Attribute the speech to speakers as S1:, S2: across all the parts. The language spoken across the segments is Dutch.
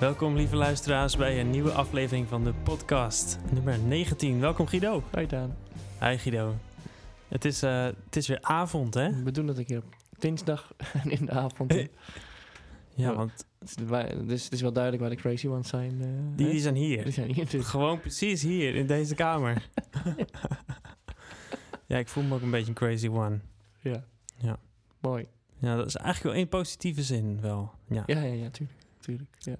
S1: Welkom lieve luisteraars bij een nieuwe aflevering van de podcast nummer 19. Welkom Guido.
S2: Hoi Daan.
S1: Hi Guido. Het is, eh, het is weer avond hè?
S2: We doen het een keer op dinsdag en in de avond.
S1: Hey. Ja,
S2: Ja.
S1: want
S2: Het is- wij- dus het is wel duidelijk waar de crazy ones zijn. eh,
S1: die,
S2: hè?
S1: die zijn hier.
S2: Die zijn hier dus, natuurlijk.
S1: Gewoon precies hier in deze kamer. ja, ik voel me ook een beetje een crazy one.
S2: Ja.
S1: Ja.
S2: Mooi.
S1: Ja, dat is eigenlijk wel in positieve zin wel. Ja.
S2: Ja, ja, ja, tuurlijk. tuurlijk ja.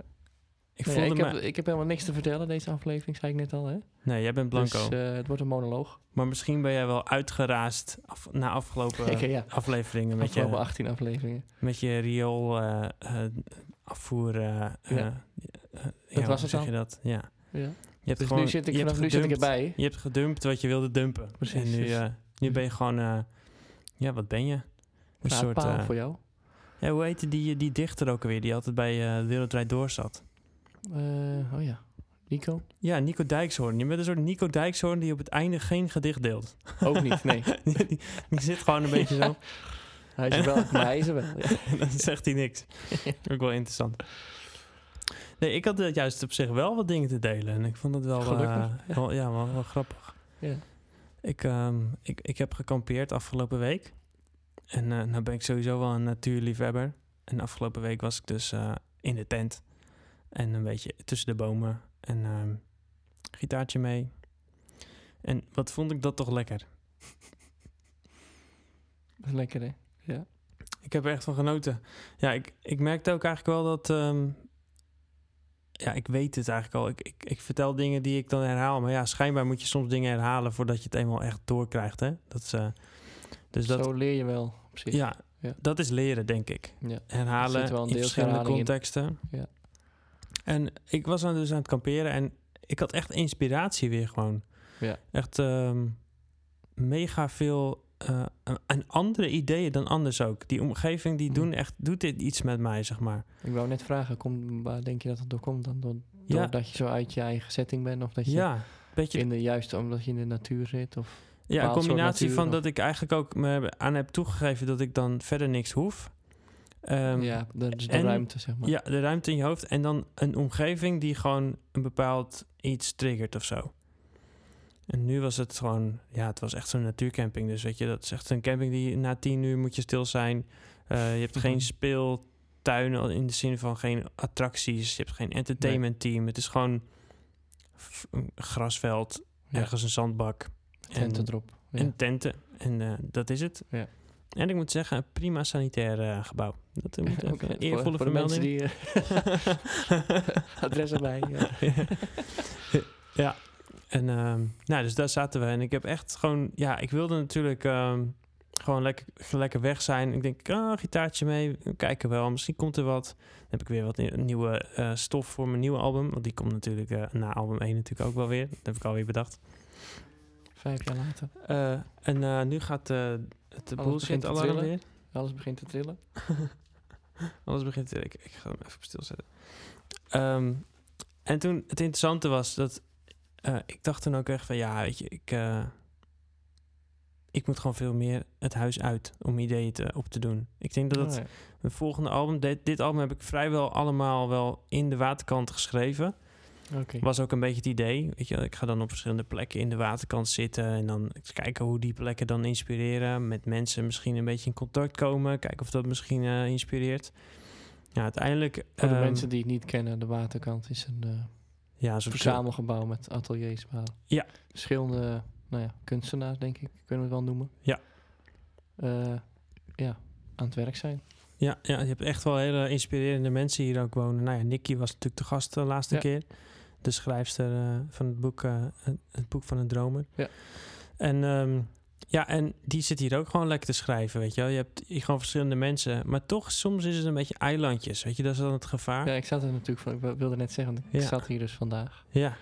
S1: Ik
S2: Nee,
S1: voelde
S2: ik,
S1: me...
S2: heb, ik heb helemaal niks te vertellen deze aflevering, zei ik net al. Hè?
S1: Nee, jij bent blanco.
S2: Dus eh, het wordt een monoloog.
S1: Maar misschien ben jij wel uitgeraasd af- na afgelopen
S2: Oké, ja.
S1: afleveringen met
S2: Afgelopen
S1: je,
S2: 18 afleveringen.
S1: met je riool eh, eh, afvoer. eh, eh,
S2: Ja.
S1: eh, ja,
S2: was
S1: hoe
S2: het
S1: zeg
S2: dan.
S1: je dat? Ja.
S2: Ja.
S1: Je hebt
S2: Dus
S1: gewoon,
S2: nu zit ik,
S1: je hebt
S2: vanaf nu zit ik
S1: gedumpt.
S2: erbij.
S1: Je hebt gedumpt wat je wilde dumpen.
S2: Precies,
S1: En nu,
S2: dus-
S1: eh, nu ben je gewoon, eh, ja, wat ben je? Een soort.
S2: Nou, paal
S1: eh,
S2: voor jou.
S1: ja, hoe heette die, eh, die dichter ook alweer? Die altijd bij eh, de Wereldrijd door zat.
S2: Eh, oh ja. Nico?
S1: Ja, Nico Dijkshoorn. Je bent een soort Nico Dijkshoorn die op het einde geen gedicht deelt.
S2: Ook niet, nee.
S1: die, die- die zit gewoon een beetje zo.
S2: Hij is er wel, maar hij is er wel. Ja.
S1: En dan zegt hij niks. Ook wel interessant. Nee, ik had eh, juist op zich wel wat dingen te delen. En ik vond het wel, eh,
S2: Gelukkig, ja.
S1: wel, ja, wel, wel grappig.
S2: Ja.
S1: Ik, ehm, ik, ik heb gekampeerd afgelopen week. En eh, nou ben ik sowieso wel een natuurliefhebber. En afgelopen week was ik dus eh, in de tent. En een beetje tussen de bomen. En ehm gitaartje mee. En wat vond ik dat toch lekker.
S2: Lekker, hè?
S1: Ik heb er echt van genoten. Ja, ik, ik merkte ook eigenlijk wel dat. ehm, ja, ik weet het eigenlijk al. Ik, ik, ik vertel dingen die ik dan herhaal. Maar ja, schijnbaar moet je soms dingen herhalen voordat je het eenmaal echt doorkrijgt. Hè? Dat is, eh, dus dat,
S2: Zo leer je wel op zich.
S1: ja,
S2: Ja.
S1: dat is leren, denk ik.
S2: Ja. Er
S1: Herhalen
S2: zit wel een
S1: in
S2: deels
S1: verschillende
S2: herhaling in.
S1: contexten.
S2: Ja.
S1: En ik was dan dus aan het kamperen en ik had echt inspiratie weer gewoon.
S2: Ja.
S1: Echt ehm, mega veel eh, en andere ideeën dan anders ook. Die omgeving die
S2: Mm.
S1: doen echt, doet dit iets met mij, zeg maar.
S2: Ik wou net vragen, kom, waar denk je dat het door komt? Dan door,
S1: Ja.
S2: doordat je zo uit je eigen setting bent? Of dat je
S1: ja, beetje
S2: in de juiste, omdat je in de natuur zit? Of,
S1: Ja, een
S2: bepaald soort
S1: combinatie
S2: natuur
S1: van
S2: of-
S1: dat ik eigenlijk ook me aan heb toegegeven dat ik dan verder niks hoef. Ehm,
S2: ja, dat is de
S1: en-
S2: ruimte, zeg maar.
S1: ja, de ruimte in je hoofd en dan een omgeving die gewoon een bepaald iets triggert of zo. En nu was het gewoon, ja, het was echt zo'n natuurcamping. Dus weet je, dat is echt een camping die na tien uur moet je stil zijn. Eh, je hebt geen
S2: Mhm.
S1: speeltuinen in de zin van geen attracties. Je hebt geen entertainment team. Het is gewoon f- een grasveld,
S2: Ja.
S1: ergens een zandbak.
S2: Tent
S1: en-
S2: erop. Ja.
S1: en tenten. En eh, dat is het.
S2: Ja.
S1: En ik moet zeggen, een prima sanitair eh, gebouw. Dat moet even
S2: Oké,
S1: een
S2: voor-
S1: eervolle
S2: voor, de mensen
S1: vermelding.
S2: die eh, adres erbij. Ja.
S1: ja. En ehm, nou, dus daar zaten we. En ik heb echt gewoon... Ja, ik wilde natuurlijk ehm, gewoon lekker, lekker weg zijn. Ik denk, ah, gitaartje mee. We kijken wel. Misschien komt er wat. Dan heb ik weer wat nie- nieuwe eh, stof voor mijn nieuwe album. Want die komt natuurlijk eh, na album 1 natuurlijk ook wel weer. Dat heb ik alweer bedacht.
S2: Vijf jaar later.
S1: Eh, en eh, nu gaat eh het
S2: Oh, begint
S1: bullshit
S2: te
S1: alarm
S2: trillen.
S1: weer.
S2: Alles begint te trillen.
S1: Anders begint het. Ik, ik ga hem even op stilzetten. Ehm, en toen, het interessante was dat. eh, ik dacht toen ook echt van ja, weet je, ik. eh, ik moet gewoon veel meer het huis uit om ideeën te, op te doen. Ik denk dat het
S2: Oh, ja.
S1: mijn volgende album, dit, dit album heb ik vrijwel allemaal wel in de waterkant geschreven.
S2: Oké.
S1: Was ook een beetje het idee. Weet je, ik ga dan op verschillende plekken in de waterkant zitten en dan eens kijken hoe die plekken dan inspireren. Met mensen misschien een beetje in contact komen. Kijken of dat misschien eh, inspireert. Ja, uiteindelijk.
S2: Voor de
S1: ehm,
S2: mensen die het niet kennen, de waterkant is een eh,
S1: Ja, zo'n
S2: verzamelgebouw met ateliers waar
S1: Ja.
S2: verschillende nou ja, kunstenaars, denk ik, kunnen we het wel noemen.
S1: Ja.
S2: Eh, ja, aan het werk zijn.
S1: Ja, ja, je hebt echt wel hele inspirerende mensen hier ook wonen. Nou ja, Nicky was natuurlijk de gast de laatste
S2: Ja.
S1: keer. De schrijfster eh, van het boek, eh, het- het boek van een dromer.
S2: Ja.
S1: En, ehm, ja, en die zit hier ook gewoon lekker te schrijven, weet je wel. Je hebt hier gewoon verschillende mensen. Maar toch, soms is het een beetje eilandjes, weet je. Dat is dan het gevaar.
S2: Ja, ik zat er natuurlijk van, ik wi- wilde net zeggen, ik
S1: Ja.
S2: zat hier dus vandaag.
S1: Ja,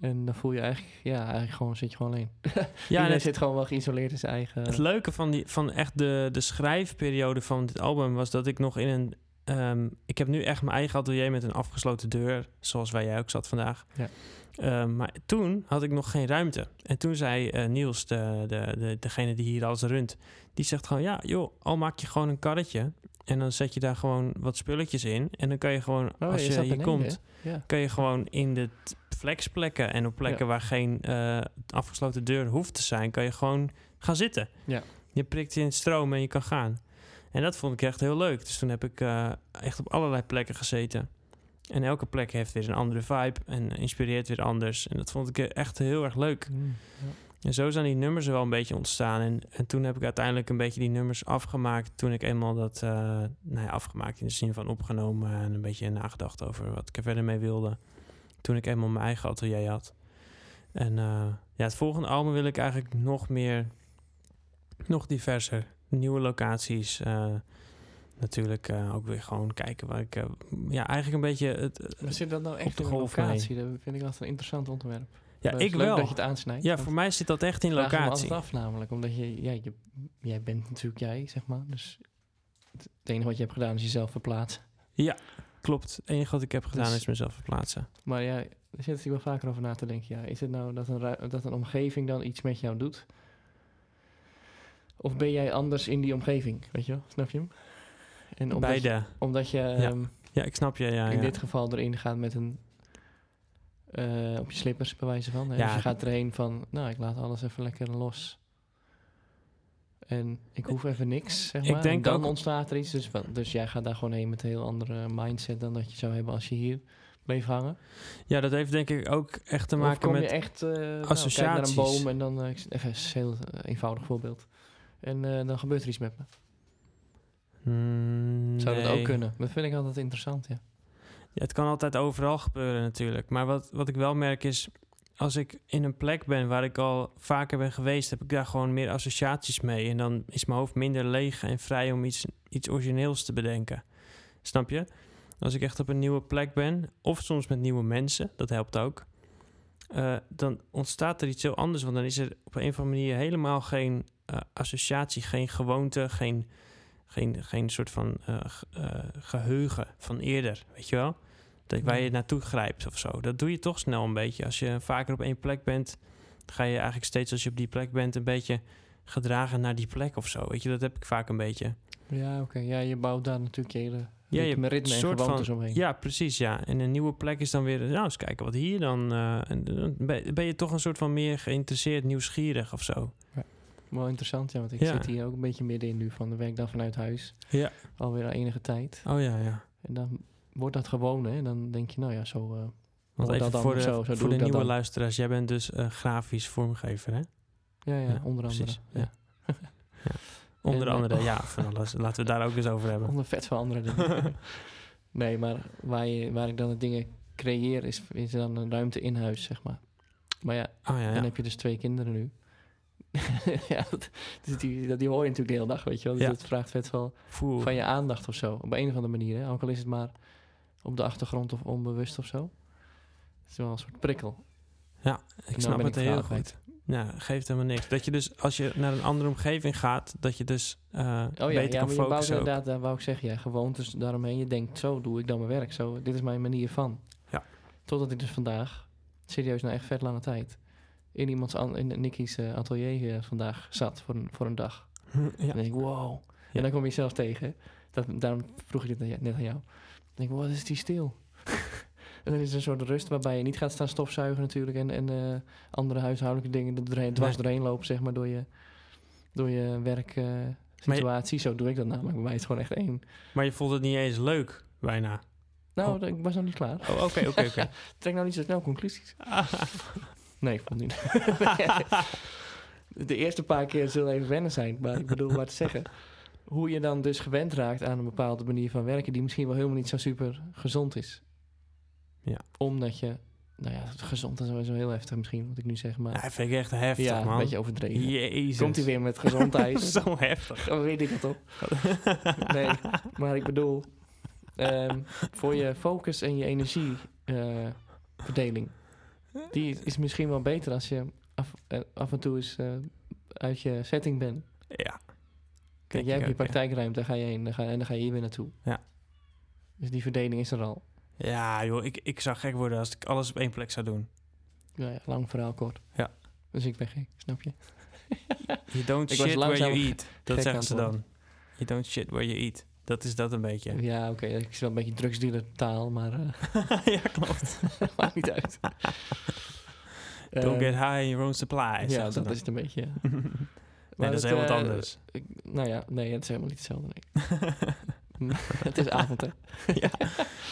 S2: En dan voel je eigenlijk, ja, eigenlijk gewoon zit je gewoon alleen.
S1: ja en
S2: Iedereen
S1: het,
S2: zit gewoon wel geïsoleerd in zijn eigen...
S1: het leuke van, die, van echt de, de schrijfperiode van dit album... was dat ik nog in een... ehm, ik heb nu echt mijn eigen atelier met een afgesloten deur... zoals waar jij ook zat vandaag.
S2: Ja.
S1: Ehm, maar toen had ik nog geen ruimte. En toen zei eh, Niels, de, de, de, degene die hier alles runt, die zegt gewoon: Ja, joh, al maak je gewoon een karretje. En dan zet je daar gewoon wat spulletjes in. En dan kan je gewoon,
S2: Oh,
S1: als je
S2: staat
S1: hier
S2: beneden,
S1: komt,
S2: hè? Ja.
S1: kun je gewoon in de t- flexplekken en op plekken waar geen eh, afgesloten deur hoeft te zijn, kan je gewoon gaan zitten.
S2: Ja.
S1: Je prikt in stroom en je kan gaan. En dat vond ik echt heel leuk. Dus toen heb ik eh, echt op allerlei plekken gezeten. En elke plek heeft weer een andere vibe en inspireert weer anders. En dat vond ik eh, echt heel erg leuk.
S2: Mm, ja.
S1: En zo zijn die nummers er wel een beetje ontstaan. En, en toen heb ik uiteindelijk een beetje die nummers afgemaakt. Toen ik eenmaal dat, eh, nou ja, afgemaakt in de zin van opgenomen en een beetje nagedacht over wat ik er verder mee wilde. Toen ik eenmaal mijn eigen atelier had. En eh, ja, het volgende album wil ik eigenlijk nog meer, nog diverser. Nieuwe locaties. eh, natuurlijk eh, ook weer gewoon kijken waar ik, eh, ja, eigenlijk een beetje het,
S2: Maar zit dat nou
S1: de
S2: echt in een
S1: golf mee.
S2: locatie? Dat vind ik altijd een interessant onderwerp.
S1: ja,
S2: Maar het
S1: ik
S2: is leuk
S1: wel.
S2: dat je het aansnijdt.
S1: Ja,
S2: want
S1: voor mij zit dat echt in
S2: ik vraag me
S1: locatie.
S2: altijd af namelijk, omdat je, ja, je, jij bent natuurlijk jij, zeg maar. Dus het, het enige wat je hebt gedaan is jezelf verplaatsen.
S1: Klopt. Het enige wat ik heb gedaan
S2: Dus-
S1: is mezelf verplaatsen.
S2: Maar ja, daar zit natuurlijk wel vaker over na te denken. Ja, is het nou dat een, ru- dat een omgeving dan iets met jou doet? Of ben jij anders in die omgeving? Weet je wel, snap je hem? En omdat
S1: Beide.
S2: je- omdat je ehm,
S1: Ja, ik snap je. Ja,
S2: in
S1: ja.
S2: dit geval erin gaat met een... eh, op je slippers bij wijze van. Hè?
S1: Ja.
S2: Dus je gaat erheen van, nou, ik laat alles even lekker los. En ik hoef even niks, zeg
S1: Ik
S2: maar. En
S1: denk
S2: dan
S1: ook-
S2: ontstaat er iets. Dus, van- dus jij gaat daar gewoon heen met een heel andere mindset... dan dat je zou hebben als je hier bleef hangen.
S1: ja, dat heeft denk ik ook echt te maken
S2: of kom
S1: met...
S2: je echt eh, nou, kijk naar
S1: associaties.
S2: een boom en dan... eh, ik- even een heel eh, eenvoudig voorbeeld. En eh, dan gebeurt er iets met me.
S1: Mm,
S2: Zou dat
S1: nee.
S2: ook kunnen? Dat vind ik altijd interessant, ja.
S1: Ja, het kan altijd overal gebeuren natuurlijk. Maar wat, wat ik wel merk is... Als ik in een plek ben waar ik al vaker ben geweest... heb ik daar gewoon meer associaties mee. En dan is mijn hoofd minder leeg en vrij om iets, iets origineels te bedenken. Snap je? Als ik echt op een nieuwe plek ben... of soms met nieuwe mensen, dat helpt ook... eh, dan ontstaat er iets heel anders. Want dan is er op een of andere manier helemaal geen eh, associatie... geen gewoonte, geen geen, geen soort van eh, g- eh, geheugen van eerder, weet je wel? Dat, waar je
S2: Nee.
S1: naartoe grijpt of zo. Dat doe je toch snel een beetje. Als je vaker op één plek bent, ga je eigenlijk steeds als je op die plek bent een beetje gedragen naar die plek of zo. Weet je, dat heb ik vaak een beetje.
S2: Ja, oké. Ja, je bouwt daar natuurlijk je hele
S1: Ja, je
S2: ritme,
S1: hebt
S2: ritme
S1: een
S2: en
S1: soort van-
S2: gewoontes omheen.
S1: Ja, precies, ja. En een nieuwe plek is dan weer, nou eens kijken wat hier dan. eh, en dan ben- ben je toch een soort van meer geïnteresseerd, nieuwsgierig of zo.
S2: Wel interessant, ja. Want ik
S1: Ja.
S2: zit hier ook een beetje middenin nu. Van, dan werk ik dan vanuit huis.
S1: Ja.
S2: Alweer al enige tijd.
S1: Oh ja, ja.
S2: En dan wordt dat gewoon, hè. Dan denk je, nou ja, zo... eh,
S1: Want
S2: Hoor
S1: even
S2: dat dan
S1: voor de,
S2: of zo, zo doe
S1: voor de
S2: ik dat
S1: nieuwe
S2: dan.
S1: luisteraars, jij bent dus eh, grafisch vormgever, hè?
S2: ja, ja,
S1: Ja,
S2: onder andere.
S1: precies,
S2: ja.
S1: ja. Onder
S2: En, eh,
S1: andere, ja, van alles. Laten we het daar ook eens over hebben.
S2: Onder vet van andere dingen. nee, maar waar, je, waar ik dan de dingen creëer is, is er dan een ruimte in huis, zeg maar. Maar ja,
S1: Oh ja,
S2: dan
S1: ja.
S2: heb je dus twee kinderen nu. ja, dat, dus die, dat, die hoor je natuurlijk de hele dag, weet je wel. Dus
S1: Ja.
S2: dat vraagt vet wel
S1: Voel.
S2: van je aandacht of zo. Op een of andere manier, hè. Ook al is het maar op de achtergrond of onbewust of zo. Het is wel een soort prikkel.
S1: ik
S2: dan
S1: snap
S2: ben
S1: het
S2: ik
S1: heel
S2: verhaal
S1: goed. Nou, geeft helemaal niks. Dat je dus, als je naar een andere omgeving gaat, dat je dus eh,
S2: Oh ja,
S1: beter
S2: ja
S1: kan
S2: maar je bouwt
S1: focussen. ook.
S2: inderdaad, daar wou ik zeggen, ja, gewoontes daaromheen. Je denkt, zo doe ik dan mijn werk. Zo, dit is mijn manier van.
S1: Ja.
S2: Totdat ik dus vandaag, serieus na echt vet lange tijd, in iemands, an- in Nicky's eh, atelier eh, vandaag zat voor een, voor een dag.
S1: ja.
S2: Dan denk ik, wow.
S1: Ja.
S2: En dan kom je jezelf tegen. Dat, daarom vroeg ik dit net- net aan jou. Dan denk ik, wat is die stil? en dan is er een soort rust waarbij je niet gaat staan stofzuigen natuurlijk. En, en eh, andere huishoudelijke dingen er doorheen, dwars
S1: Nee.
S2: doorheen lopen, zeg maar, door je, door je werk... eh, situatie. Zo doe ik dat namelijk. Bij mij is het gewoon echt één.
S1: Maar je vond het niet eens leuk, bijna.
S2: Nou,
S1: Oh.
S2: dat- ik was nog niet klaar.
S1: Oh, oké, oké, oké.
S2: Trek nou niet zo snel conclusies. Nee, ik vond het niet. De eerste paar keer zullen even wennen zijn. Maar ik bedoel, maar te zeggen. Hoe je dan dus gewend raakt aan een bepaalde manier van werken... die misschien wel helemaal niet zo super gezond is.
S1: Ja.
S2: Omdat je... Nou ja, gezond is sowieso heel heftig misschien, wat ik nu zeg. Maar
S1: Ja, vind ik echt heftig,
S2: ja,
S1: man.
S2: een beetje overdreven.
S1: Jezus.
S2: Komt hij weer met gezondheid.
S1: Zo heftig.
S2: Dan Oh, weet ik het op. nee, maar ik bedoel, ehm, voor je focus en je energieverdeling. die is misschien wel beter als je af, eh, af en toe eens eh, uit je setting bent.
S1: Ja.
S2: Kijk,
S1: Denk
S2: jij
S1: ik
S2: hebt je
S1: ook, ja.
S2: praktijkruimte, daar ga je heen dan ga, en dan ga je hier weer naartoe.
S1: Ja.
S2: Dus die verdeling is er al.
S1: Ja, joh, ik, ik zou gek worden als ik alles op één plek zou doen.
S2: Nou ja, lang verhaal kort.
S1: Ja.
S2: Dus ik ben gek, snap je?
S1: You don't
S2: Ik was
S1: shit where
S2: langzaam
S1: you
S2: ge-
S1: eat. Dat
S2: gek
S1: zeggen
S2: aan
S1: ze
S2: het
S1: dan. You don't shit where you eat. Dat is dat een beetje.
S2: Ja, oké. Ik zie wel een beetje drugsdealer taal, maar eh
S1: ja, klopt.
S2: maakt niet uit.
S1: Don't
S2: Eh,
S1: get high in your own supply.
S2: Ja,
S1: zeggen ze
S2: dat
S1: dan.
S2: is het een beetje. ja.
S1: nee,
S2: Maar
S1: dat is
S2: het,
S1: heel wat
S2: eh,
S1: anders.
S2: ik- nou ja, nee, het is helemaal niet hetzelfde. Nee. het is avond, hè?
S1: ja.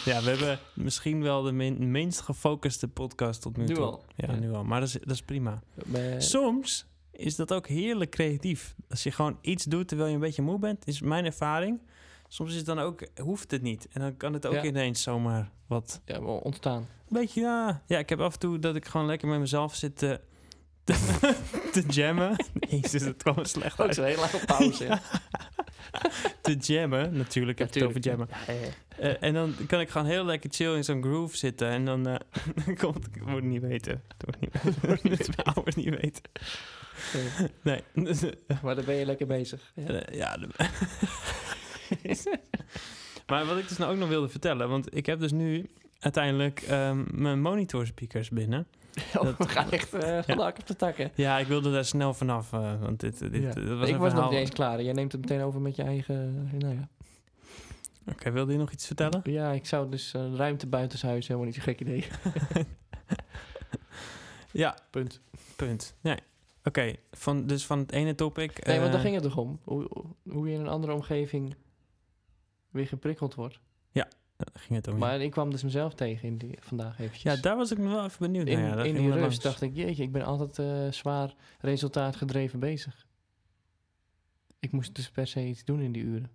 S1: ja, we hebben misschien wel de min- minst gefocuste podcast tot nu,
S2: Nu
S1: toe.
S2: al.
S1: Ja,
S2: Ja.
S1: nu al. Maar dat is, dat is prima.
S2: Maar-
S1: Soms is dat ook heerlijk creatief. Als je gewoon iets doet terwijl je een beetje moe bent, is mijn ervaring. Soms is het dan ook, hoeft het niet. En dan kan het ook
S2: Ja.
S1: ineens zomaar wat.
S2: ja, maar ontstaan.
S1: Een beetje, ja. Ja, ik heb af en toe dat ik gewoon lekker met mezelf zit te, te, te jammen. Jezus, dat kwam er slecht
S2: Ook
S1: uit.
S2: zo'n hele lange pauze. ja.
S1: Te jammen, natuurlijk. Ik heb het over
S2: Natuurlijk.
S1: jammen.
S2: Ja, ja, ja.
S1: Eh, en dan kan ik gewoon heel lekker chill in zo'n groove zitten. En dan eh, komt... Ik word het niet weten. Ik word het niet weten. Ik word het verhaal wordt niet weten.
S2: Eh,
S1: Nee.
S2: maar dan ben je lekker bezig. Ja.
S1: Eh, ja. de- maar wat ik dus nou ook nog wilde vertellen. Want ik heb dus nu uiteindelijk ehm, mijn monitor speakers binnen.
S2: Oh, we gaan echt eh van de hak op de takken.
S1: Ja, ik wilde daar snel vanaf. eh, want dit, dit,
S2: Ja.
S1: dit was
S2: ik
S1: een
S2: was nog
S1: verhaal-
S2: niet eens klaar. Jij neemt het meteen over met je eigen... Nou ja.
S1: Oké, wilde je nog iets vertellen?
S2: Ja, ik zou dus eh, ruimte buitenshuis helemaal niet zo'n gek idee.
S1: Ja,
S2: Punt.
S1: punt. Nee. Oké, van, dus van het ene topic...
S2: Nee, want daar
S1: eh,
S2: ging het toch om. Hoe, hoe je in een andere omgeving weer geprikkeld wordt.
S1: ging het om. Oh ja.
S2: Maar ik kwam dus mezelf tegen in die, vandaag eventjes.
S1: Ja, daar was ik nog wel even benieuwd
S2: in,
S1: naar. Ja, daar
S2: in
S1: ging
S2: die
S1: wel
S2: rust
S1: langs.
S2: dacht ik, jeetje, ik ben altijd eh, zwaar resultaatgedreven bezig. Ik moest dus per se iets doen in die uren.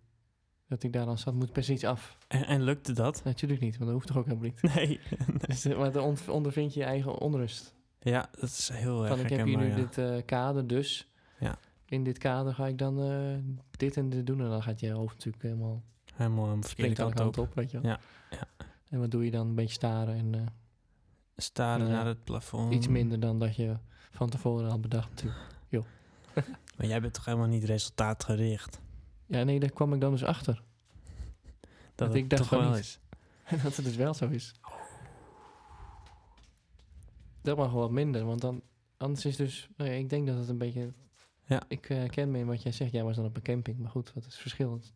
S2: Dat ik daar dan zat, moet per se iets af.
S1: En, en lukte dat?
S2: Natuurlijk niet, want dat hoeft toch ook helemaal niet.
S1: Nee.
S2: Dus, eh, maar dan ont- ondervind je je eigen onrust.
S1: ja, dat is heel erg
S2: Van ik heb hier nu
S1: herkenbaar, ja.
S2: dit eh, kader, dus
S1: Ja.
S2: in dit kader ga ik dan eh, dit en dit doen. En dan gaat je hoofd natuurlijk helemaal
S1: Helemaal aan de verkeerde
S2: springt alle
S1: kant op.
S2: kanten op, weet je wel.
S1: Ja, ja.
S2: En wat doe je dan? Een beetje staren en eh,
S1: Staren
S2: Ja.
S1: naar het plafond.
S2: iets minder dan dat je van tevoren had bedacht natuurlijk.
S1: Maar jij bent toch helemaal niet resultaatgericht?
S2: Ja, nee, daar kwam ik dan dus achter.
S1: Dat,
S2: Dat
S1: het
S2: ik dacht
S1: toch wel
S2: van niet.
S1: is.
S2: dat het dus wel zo is. Dat mag wel wat minder, want dan, anders is dus, nou ja, ik denk dat het een beetje,
S1: Ja.
S2: ik eh, ken me in wat jij zegt, jij was dan op een camping, maar goed, wat is het verschil? Het-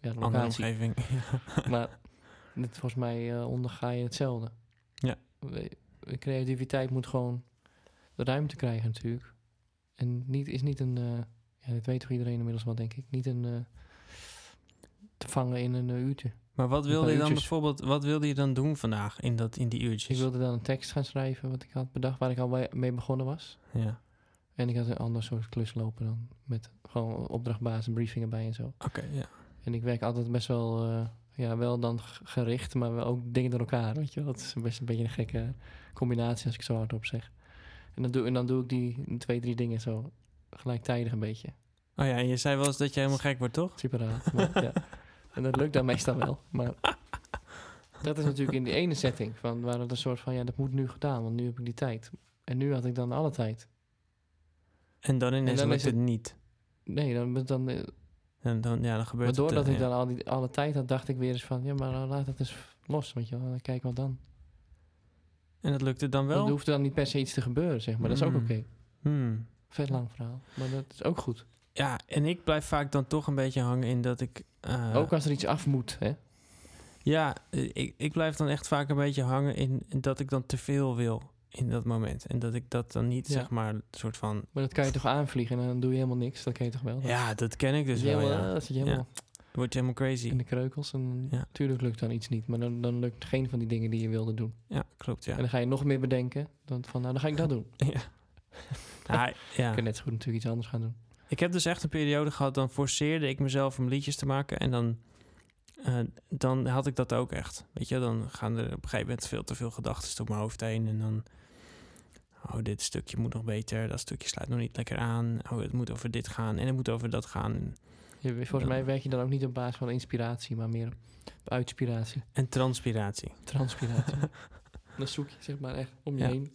S2: Ja, de
S1: Andere
S2: locatie.
S1: omgeving.
S2: Maar dit, volgens mij eh, onderga je hetzelfde.
S1: Ja.
S2: We- de Creativiteit moet gewoon de ruimte krijgen natuurlijk. En niet, is niet een, eh, ja, dat weet toch iedereen inmiddels wel, denk ik, niet een eh, te vangen in een eh, uurtje.
S1: maar wat
S2: Een
S1: wilde
S2: paar
S1: je dan
S2: uurtjes.
S1: bijvoorbeeld... Wat wilde je dan doen vandaag in, dat, in die uurtjes?
S2: Dus Ik wilde dan een tekst gaan schrijven wat ik had bedacht, waar ik al bij- mee begonnen was.
S1: Ja,
S2: En ik had een ander soort klus lopen dan, met gewoon opdrachtbaas en briefingen bij en zo.
S1: oké, ja.
S2: En ik werk altijd best wel, eh, ja, wel dan g- gericht, maar wel ook dingen door elkaar, weet je wel. Dat is best een beetje een gekke combinatie als ik zo hardop zeg. En dan doe, en dan doe ik die twee, drie dingen zo gelijktijdig een beetje.
S1: Oh ja, en je zei wel eens dat je helemaal gek wordt, toch?
S2: Super raar, maar ja. En dat lukt dan meestal wel, maar... Dat is natuurlijk in die ene setting, van waar het een soort van, ja, dat moet nu gedaan, want nu heb ik die tijd. En nu had ik dan alle tijd.
S1: En dan ineens
S2: dan
S1: lukt
S2: is
S1: het
S2: het-
S1: niet.
S2: Nee, dan, ben- dan, eh,
S1: En dan, ja, dan
S2: maar
S1: gebeurt het.
S2: doordat
S1: eh,
S2: ik
S1: ja.
S2: dan al die, alle tijd had, dacht ik weer eens van... Ja, maar eh, laat het eens los, weet je wel. Dan kijk wat dan.
S1: En dat lukte dan wel?
S2: Er hoeft dan niet per se iets te gebeuren, zeg maar. Dat is ook
S1: Mm.
S2: oké.
S1: Hmm.
S2: Vet lang verhaal. Maar dat is ook goed.
S1: Ja, en ik blijf vaak dan toch een beetje hangen in dat ik. eh,
S2: Ook als er iets af moet, hè.
S1: Ja, eh, ik, ik blijf dan echt vaak een beetje hangen in, in dat ik dan te veel wil in dat moment. En dat ik dat dan niet,
S2: Ja.
S1: zeg maar, een soort van.
S2: Maar dat kan je toch aanvliegen en dan doe je helemaal niks. Dat kan je toch wel. Dan
S1: Ja, dat ken ik
S2: zit
S1: dus
S2: je
S1: wel.
S2: helemaal,
S1: Ja.
S2: dan zit je helemaal
S1: Word je helemaal
S2: in
S1: crazy.
S2: de kreukels. En
S1: Ja.
S2: natuurlijk lukt dan iets niet. Maar dan, dan lukt geen van die dingen die je wilde doen.
S1: Ja, klopt. Ja.
S2: En dan ga je nog meer bedenken. Dan van, nou, dan ga ik dat doen. Ik
S1: ja. Ah, ja.
S2: kan net zo goed natuurlijk iets anders gaan doen.
S1: Ik heb dus echt een periode gehad, dan forceerde ik mezelf om liedjes te maken. En dan, eh, dan had ik dat ook echt. Weet je, dan gaan er op een gegeven moment veel te veel gedachten door mijn hoofd heen. En dan, oh, dit stukje moet nog beter. Dat stukje sluit nog niet lekker aan. Oh, het moet over dit gaan en het moet over dat gaan.
S2: Je, volgens
S1: Ja.
S2: mij werk je dan ook niet op basis van inspiratie, maar meer op uitspiratie.
S1: En transpiratie.
S2: Transpiratie. dan zoek je zeg maar echt om je
S1: Ja.
S2: heen.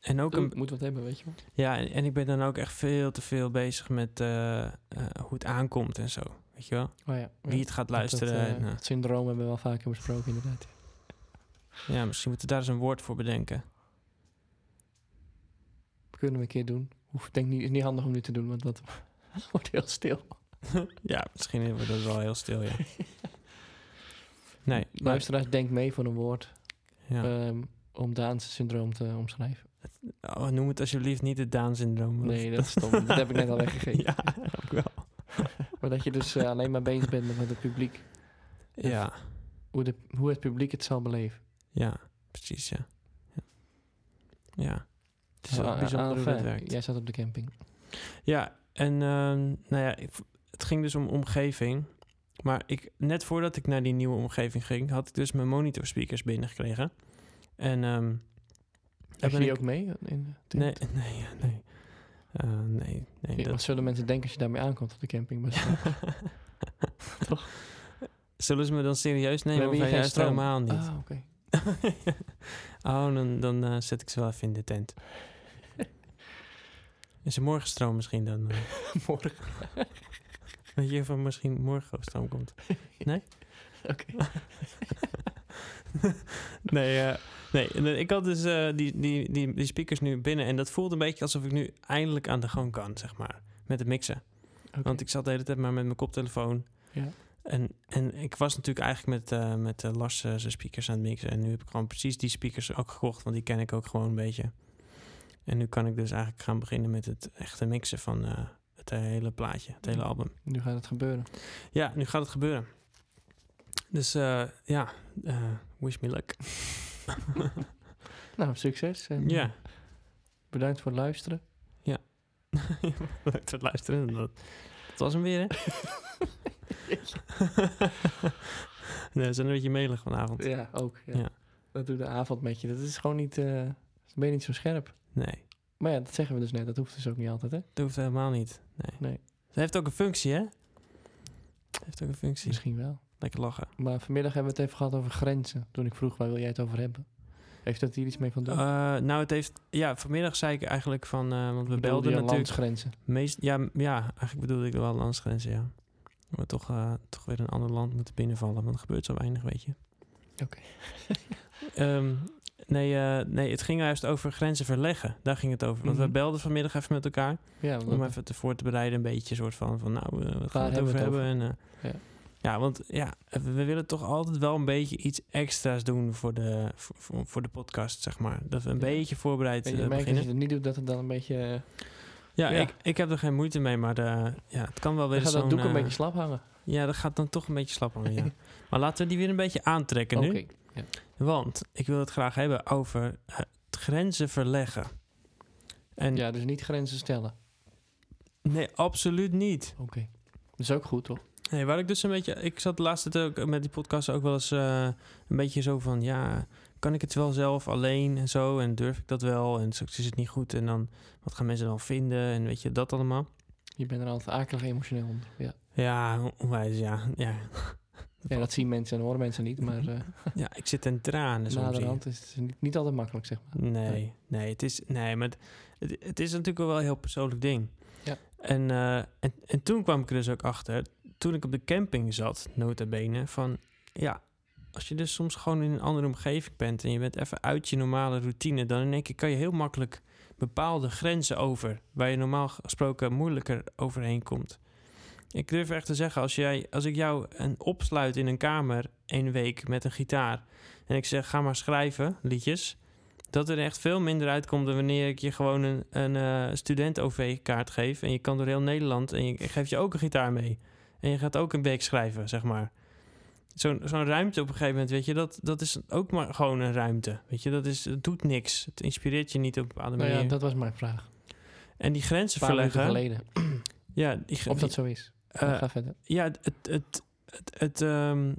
S1: En ook
S2: Ook
S1: een,
S2: moet wat hebben, weet je wel.
S1: ja, en, en ik ben dan ook echt veel te veel bezig met eh, eh, hoe het aankomt en zo. Weet je wel?
S2: Oh ja.
S1: Wie het gaat luisteren.
S2: Dat,
S1: en, eh,
S2: het syndroom hebben we wel vaker besproken, inderdaad.
S1: ja, misschien moeten we daar eens een woord voor bedenken.
S2: Kunnen we een keer doen. Hoef, denk niet, is niet handig om nu te doen, want dat wordt heel stil.
S1: ja, misschien wordt het wel heel stil, ja. Nee, maar,
S2: Luisteraars, denk mee voor een woord
S1: ja.
S2: ehm, om Daans syndroom te omschrijven.
S1: Oh, noem het alsjeblieft niet het Down-syndroom. want-
S2: Nee, dat is stom. dat heb ik net al weggegeven.
S1: ja, ook wel.
S2: Maar dat je dus eh, alleen maar bezig bent met het publiek.
S1: Ja,
S2: Hoe, de, hoe het publiek het zal beleven.
S1: ja, precies, ja. Ja. Ja, het is wel
S2: Ah,
S1: bijzonder hoe
S2: ah,
S1: dat
S2: eh,
S1: werkt.
S2: Jij zat op de camping.
S1: Ja, en ehm, nou ja, ik v- het ging dus om omgeving. Maar ik, net voordat ik naar die nieuwe omgeving ging, had ik dus mijn monitor speakers binnengekregen. En ehm,
S2: Heb je
S1: ben
S2: die
S1: ik-
S2: ook mee? eh, In de tent?
S1: nee, nee, ja, nee. Eh, nee, nee.
S2: Ja,
S1: dat-
S2: Wat zullen mensen denken als je daarmee aankomt op de camping? Maar
S1: Zullen ze me dan serieus
S2: We
S1: nemen
S2: hebben
S1: of
S2: hier geen
S1: juist
S2: stroom.
S1: helemaal niet?
S2: Ah, oké.
S1: oh, dan, dan eh, zet ik ze wel even in de tent. Is er morgen stroom misschien dan? eh?
S2: Morgen.
S1: Weet je of er misschien morgen ook stroom komt?
S2: Oké.
S1: Nee, eh, nee. En, eh, ik had dus eh, die, die, die, die speakers nu binnen. En dat voelde een beetje alsof ik nu eindelijk aan de gang kan, zeg maar. Met het mixen.
S2: Oké.
S1: Want ik zat de hele tijd maar met mijn koptelefoon.
S2: Ja.
S1: En, en ik was natuurlijk eigenlijk met, eh, met eh, Lars eh, zijn speakers aan het mixen. En nu heb ik gewoon precies die speakers ook gekocht. Want die ken ik ook gewoon een beetje. En nu kan ik dus eigenlijk gaan beginnen met het echte mixen van eh, het hele plaatje. Het hele album.
S2: Nu gaat het gebeuren.
S1: Ja, nu gaat het gebeuren. Dus eh, ja, eh, wish me luck.
S2: Nou, succes. En
S1: Ja.
S2: Bedankt voor het luisteren.
S1: Bedankt voor het luisteren. Dat, dat was hem weer, hè? nee, we zijn een beetje melig vanavond.
S2: Ja, ook. Ja.
S1: Ja.
S2: Dat doet de avond met je. Dat is gewoon niet... eh dan ben je niet zo scherp.
S1: Nee,
S2: Maar ja, dat zeggen we dus net. Dat hoeft dus ook niet altijd, hè?
S1: dat hoeft helemaal niet. Nee.
S2: Nee.
S1: Het heeft ook een functie, hè? Het heeft ook een functie.
S2: Misschien wel.
S1: Lekker lachen.
S2: Maar vanmiddag hebben we het even gehad over grenzen. Toen ik vroeg, waar wil jij het over hebben? Heeft dat hier iets mee van doen?
S1: Eh, nou, het heeft... Ja, vanmiddag zei ik eigenlijk van... eh, want we
S2: Bedoelde
S1: belden
S2: je
S1: natuurlijk...
S2: landsgrenzen.
S1: Meest, ja, m- ja, eigenlijk bedoelde ik wel landsgrenzen, ja. Maar toch, eh, toch weer een ander land moeten binnenvallen, want er gebeurt zo weinig, weet je.
S2: Oké.
S1: Ehm, nee, eh, nee, het ging juist over grenzen verleggen. Daar ging het over. Want
S2: Mhm.
S1: we belden vanmiddag even met elkaar.
S2: Ja, want
S1: Om even te voor te bereiden, een beetje soort van, van nou, eh, wat gaan we het
S2: hebben
S1: over
S2: we het
S1: hebben? En, eh,
S2: Ja.
S1: ja. want ja, we we willen toch altijd wel een beetje iets extra's doen voor de, voor, voor- voor de podcast, zeg maar. Dat we een
S2: Ja.
S1: beetje voorbereid
S2: en
S1: eh,
S2: je merkt als
S1: beginnen.
S2: je het niet doet, dat het dan een beetje... eh,
S1: Ja,
S2: Ja.
S1: Ik, ik heb er geen moeite mee, maar eh, ja, het kan wel
S2: dan
S1: weer
S2: gaat
S1: zo'n...
S2: dat doek een
S1: eh,
S2: beetje slap hangen.
S1: ja, dat gaat dan toch een beetje slap aan, ja. Maar laten we die weer een beetje aantrekken nu.
S2: Oké.
S1: Want ik wil het graag hebben over eh, het grenzen verleggen. En
S2: Ja, dus niet grenzen stellen.
S1: nee, absoluut niet.
S2: Oké. Dat is ook goed, toch?
S1: Nee, waar ik dus een beetje... Ik zat laatst het ook met die podcast ook wel eens eh, een beetje zo van... Ja, kan ik het wel zelf alleen en zo? En durf ik dat wel? En straks is het niet goed. En dan, wat gaan mensen dan vinden? En weet je, dat allemaal.
S2: Je bent er altijd akelig emotioneel onder. Ja,
S1: Ja, onwijs, ja. Ja,
S2: ja dat zien mensen en horen mensen niet, maar eh
S1: ja ik zit in tranen soms hier.
S2: naderhand is het niet, niet altijd makkelijk, zeg maar.
S1: Nee, nee, het is, nee maar het, het, het is natuurlijk wel een heel persoonlijk ding.
S2: Ja.
S1: En, eh, en, en toen kwam ik er dus ook achter, toen ik op de camping zat, nota bene, van ja, als je dus soms gewoon in een andere omgeving bent en je bent even uit je normale routine, dan in één keer kan je heel makkelijk bepaalde grenzen over, waar je normaal gesproken moeilijker overheen komt. Ik durf echt te zeggen, als, jij, als ik jou een opsluit in een kamer één week met een gitaar en ik zeg ga maar schrijven, liedjes, dat er echt veel minder uitkomt dan wanneer ik je gewoon een, een eh, student-OV-kaart geef. En je kan door heel Nederland en je, ik geef je ook een gitaar mee. En je gaat ook een week schrijven, zeg maar. Zo'n zo'n ruimte op een gegeven moment, weet je, dat, dat is ook maar gewoon een ruimte. Weet je, dat is, het doet niks. Het inspireert je niet op een bepaalde
S2: Nou
S1: manier.
S2: ja, dat was mijn vraag.
S1: en die grenzen
S2: Een paar minuten
S1: verleggen.
S2: geleden.
S1: Ja, die, gr-
S2: Of dat zo is.
S1: eh,
S2: ga verder.
S1: ja, het, het, het, het, het, ehm,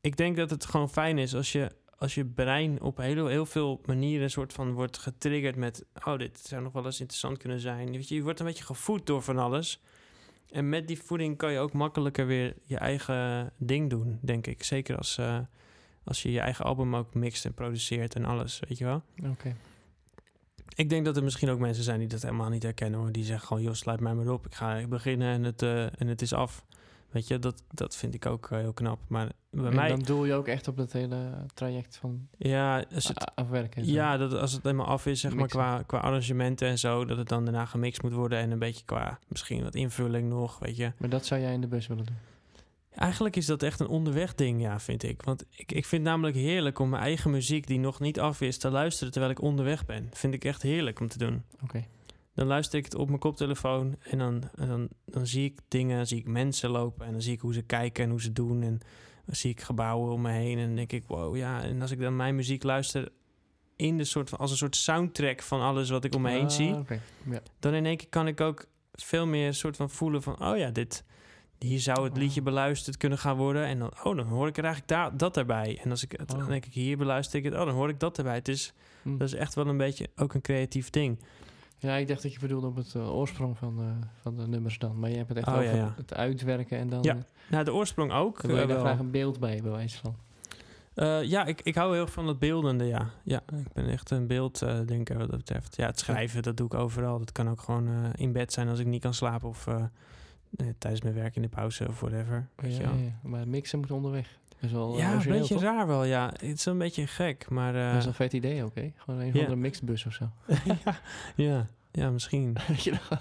S1: ik denk dat het gewoon fijn is als je, als je brein op heel, heel veel manieren een soort van wordt getriggerd met, oh, dit zou nog wel eens interessant kunnen zijn. Weet je, je wordt een beetje gevoed door van alles. En met die voeding kan je ook makkelijker weer je eigen ding doen, denk ik. Zeker als, eh, als je je eigen album ook mixt en produceert en alles, weet je wel.
S2: Oké.
S1: Ik denk dat er misschien ook mensen zijn die dat helemaal niet herkennen hoor. Die zeggen gewoon, joh, sluit mij maar op. Ik ga beginnen en het, eh, en het is af. Weet je, dat, dat vind ik ook eh, heel knap. Maar bij
S2: en
S1: mij,
S2: dan doel je ook echt op dat hele traject van
S1: ja, als het,
S2: a- afwerken. en zo.
S1: ja dat, als het helemaal af is, zeg maar,
S2: Mixen.
S1: qua, qua arrangementen en zo, dat het dan daarna gemixt moet worden en een beetje qua misschien wat invulling nog, weet je.
S2: Maar dat zou jij in de bus willen doen.
S1: Eigenlijk is dat echt een onderweg ding, ja, vind ik. Want ik, ik vind het namelijk heerlijk om mijn eigen muziek die nog niet af is te luisteren terwijl ik onderweg ben. Vind ik echt heerlijk om te doen.
S2: Oké.
S1: Dan luister ik het op mijn koptelefoon en dan, en dan, dan zie ik dingen, dan zie ik mensen lopen en dan zie ik hoe ze kijken en hoe ze doen. En dan zie ik gebouwen om me heen en dan denk ik, wow, ja. En als ik dan mijn muziek luister in de soort van, als een soort soundtrack van alles wat ik om me heen
S2: Ah,
S1: zie
S2: oké. Ja.
S1: dan in één keer kan ik ook veel meer soort van voelen van... oh ja, dit, hier zou
S2: Oh.
S1: het liedje beluisterd kunnen gaan worden. En dan, oh, dan hoor ik er eigenlijk daar, dat erbij. En als ik het,
S2: Oh.
S1: dan denk ik, hier beluister ik het, oh, dan hoor ik dat erbij. Het is,
S2: Hm.
S1: dat is echt wel een beetje ook een creatief ding.
S2: ja, ik dacht dat je bedoelde op het eh, oorsprong van, eh, van de nummers dan. Maar je hebt het echt
S1: Oh,
S2: over
S1: ja, ja.
S2: het uitwerken en dan...
S1: Ja,
S2: eh,
S1: Nou, de oorsprong ook.
S2: dan wil
S1: eh,
S2: je daar
S1: wel.
S2: graag een beeld bij, bij wijze van.
S1: Eh, ja, ik, ik hou heel erg van het beeldende, ja. Ja, ik ben echt een beelddenker wat dat betreft. Ja, het schrijven, dat doe ik overal. Dat kan ook gewoon eh, in bed zijn als ik niet kan slapen... of eh, eh, tijdens mijn werk in de pauze of whatever. Weet je
S2: Ja,
S1: wel.
S2: ja, ja. Maar mixen moet onderweg. Dat is wel eh,
S1: Ja, een
S2: origineel,
S1: beetje
S2: toch?
S1: raar wel, ja. Het is een beetje gek, maar... eh,
S2: Dat is een vet idee ook, hè? Gewoon een
S1: Ja.
S2: van andere mixbus of zo.
S1: ja, ja, ja, misschien.
S2: Dat je dan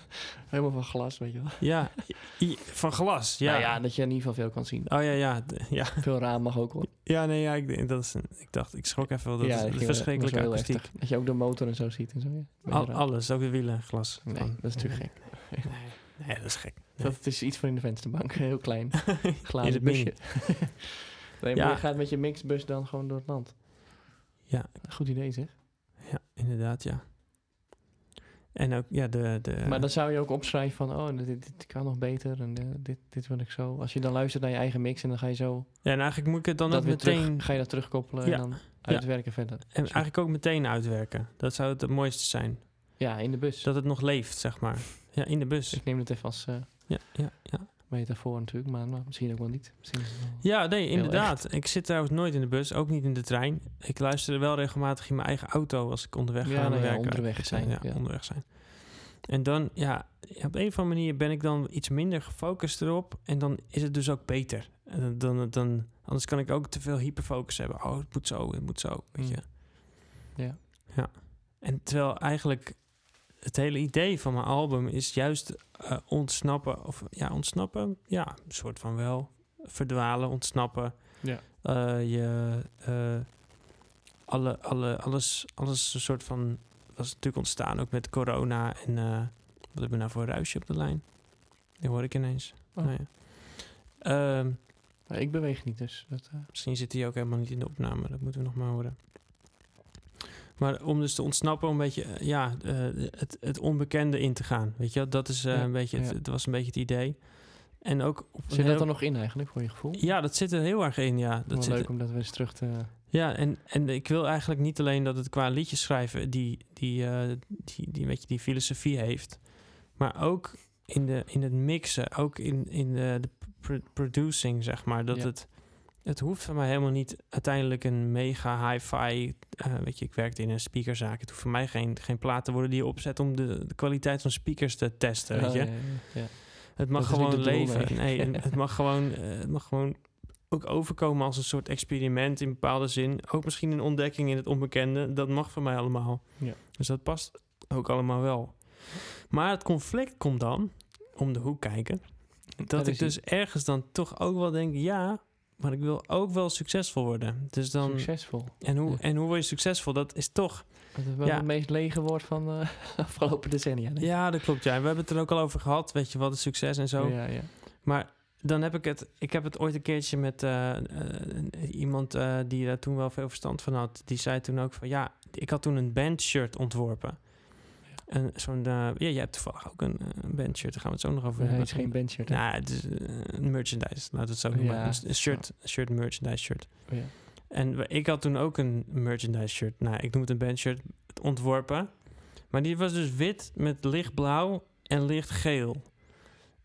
S2: Helemaal van glas, weet je wel.
S1: Ja, i- i- van glas, ja.
S2: Nou ja, dat je in ieder geval veel kan zien.
S1: Oh ja, ja, d- ja.
S2: Veel raam mag ook hoor.
S1: Ja, nee, ja, ik, dat is, ik dacht, ik schrok even wel. Dat
S2: ja,
S1: is
S2: ging
S1: een
S2: wel- was
S1: verschrikkelijke
S2: wel heel
S1: akoestiek.
S2: heftig. Dat je ook de motor en zo ziet en zo. Ja. Beetje
S1: Al-
S2: raar.
S1: alles, ook de wielen, glas.
S2: Nee,
S1: Van-
S2: dat is natuurlijk gek.
S1: Nee, nee, dat is gek. Nee.
S2: Oh. Dat is iets van in de vensterbank, heel klein.
S1: In
S2: Glazen
S1: het
S2: busje. nee, maar
S1: Ja.
S2: je gaat met je mixbus dan gewoon door het land.
S1: Ja.
S2: Goed idee zeg.
S1: Ja, inderdaad, ja. En ook, ja, de... de
S2: Maar dan zou je ook opschrijven van, oh, dit, dit kan nog beter en eh, dit, dit wil ik zo. Als je dan luistert naar je eigen mix en dan ga je zo
S1: ja, en eigenlijk moet ik het dan
S2: dat
S1: ook
S2: weer terug-
S1: meteen...
S2: ga je dat terugkoppelen
S1: Ja.
S2: en dan uitwerken verder.
S1: En eigenlijk ook meteen uitwerken. Dat zou het, het mooiste zijn.
S2: Ja, in de bus.
S1: Dus Dat het nog leeft, zeg maar. Ja, in de bus.
S2: Ik neem het even als eh,
S1: Ja, ja, ja.
S2: metafoor natuurlijk, maar, maar misschien ook wel niet. Misschien is het wel-
S1: Ja, nee,
S2: Heel
S1: inderdaad. Ik zit trouwens nooit in de bus, ook niet in de trein. Ik luister wel regelmatig in mijn eigen auto als ik onderweg
S2: Ja,
S1: ga. aan
S2: nou
S1: mijn
S2: ja,
S1: werk.
S2: onderweg zijn,
S1: Ja,
S2: ja.
S1: onderweg zijn. En dan, ja, op een of andere manier ben ik dan iets minder gefocust erop. En dan is het dus ook beter. En dan, dan, dan- anders kan ik ook te veel hyperfocus hebben. Oh, het moet zo, het moet zo, weet
S2: Mm.
S1: je.
S2: Ja.
S1: Ja. En terwijl eigenlijk het hele idee van mijn album is juist eh, ontsnappen. Of ja, ontsnappen. Ja, een soort van wel. Verdwalen, ontsnappen.
S2: Ja.
S1: Eh, je, eh, alle, alle, alles, alles een soort van... was natuurlijk ontstaan ook met corona. En eh, wat hebben we nou voor ruisje op de lijn? Die hoor ik ineens.
S2: Oh.
S1: Nou ja. Ehm,
S2: Maar ik beweeg niet, dus dat, eh,
S1: Misschien zit hij ook helemaal niet in de opname. Dat moeten we nog maar horen. Maar om dus te ontsnappen, om een beetje eh, ja, eh, het, het onbekende in te gaan. Weet je, wel? dat is eh,
S2: Ja,
S1: een beetje, het,
S2: ja.
S1: het was een beetje het idee. En ook op een
S2: zit dat
S1: heel-
S2: er nog in eigenlijk voor je gevoel?
S1: Ja, dat zit er heel erg in, ja.
S2: Wel
S1: Dat zit,
S2: leuk om dat weer eens terug te...
S1: ja, en, en ik wil eigenlijk niet alleen dat het qua liedjes schrijven die, die, eh, die, die, een beetje die filosofie heeft, maar ook in, de, in het mixen, ook in, in de, de pr- producing, zeg maar. Dat
S2: Ja.
S1: het, het hoeft voor mij helemaal niet uiteindelijk een mega hi-fi, eh, weet je, ik werkte in een speakerzaak. Het hoeft voor mij geen, geen plaat te worden die je opzet om de, de kwaliteit van speakers te testen, weet
S2: Oh,
S1: je.
S2: ja, ja, ja.
S1: Het mag
S2: Dat is niet
S1: gewoon
S2: het doel,
S1: leven.
S2: nee.
S1: Nee, en het, mag gewoon, eh, het mag gewoon ook overkomen als een soort experiment in bepaalde zin. Ook misschien een ontdekking in het onbekende. Dat mag voor mij allemaal.
S2: Ja.
S1: Dus dat past ook allemaal wel. Maar het conflict komt dan, om de hoek kijken, dat
S2: Daar
S1: ik
S2: is ie.
S1: dus ergens dan toch ook wel denk, ja, maar ik wil ook wel succesvol worden. Dus dan,
S2: Succesvol.
S1: en, hoe,
S2: Ja.
S1: en hoe word je succesvol? Dat is toch
S2: Dat is wel
S1: Ja.
S2: het meest lege woord van de afgelopen decennia. denk ik.
S1: Ja, dat klopt. Ja. En We hebben het er ook al over gehad. Weet je, wat is succes en zo.
S2: Ja, ja.
S1: Maar dan heb ik het. Ik heb het ooit een keertje met eh, eh, iemand eh, die daar toen wel veel verstand van had. Die zei toen ook van ja, ik had toen een bandshirt ontworpen. En zo'n. eh, ja, jij hebt toevallig ook een, eh, een bandshirt. Daar gaan we het zo nog over
S2: Nee,
S1: hebben.
S2: het is geen bandshirt. hè?
S1: Nou, het is eh, een merchandise. Laten we het zo noemen.
S2: Ja.
S1: Een shirt, shirt, merchandise shirt.
S2: Oh, ja.
S1: En we- ik had toen ook een merchandise shirt. Nou, ik noem het een bandshirt ontworpen. Maar die was dus wit met lichtblauw en lichtgeel.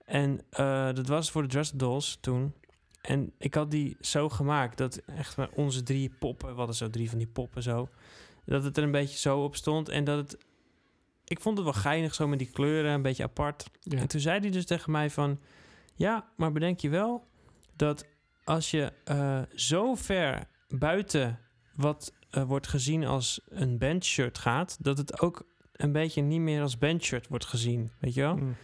S1: En eh, dat was voor de Dress Dolls toen. En ik had die zo gemaakt dat echt maar onze drie poppen, we hadden zo drie van die poppen zo, dat het er een beetje zo op stond. En dat het, ik vond het wel geinig zo met die kleuren, een beetje apart.
S2: Ja.
S1: En toen zei hij dus tegen mij van... Ja, maar bedenk je wel dat als je eh, zo ver buiten wat eh, wordt gezien als een bandshirt gaat, dat het ook een beetje niet meer als bandshirt wordt gezien. Weet je wel?
S2: Mm,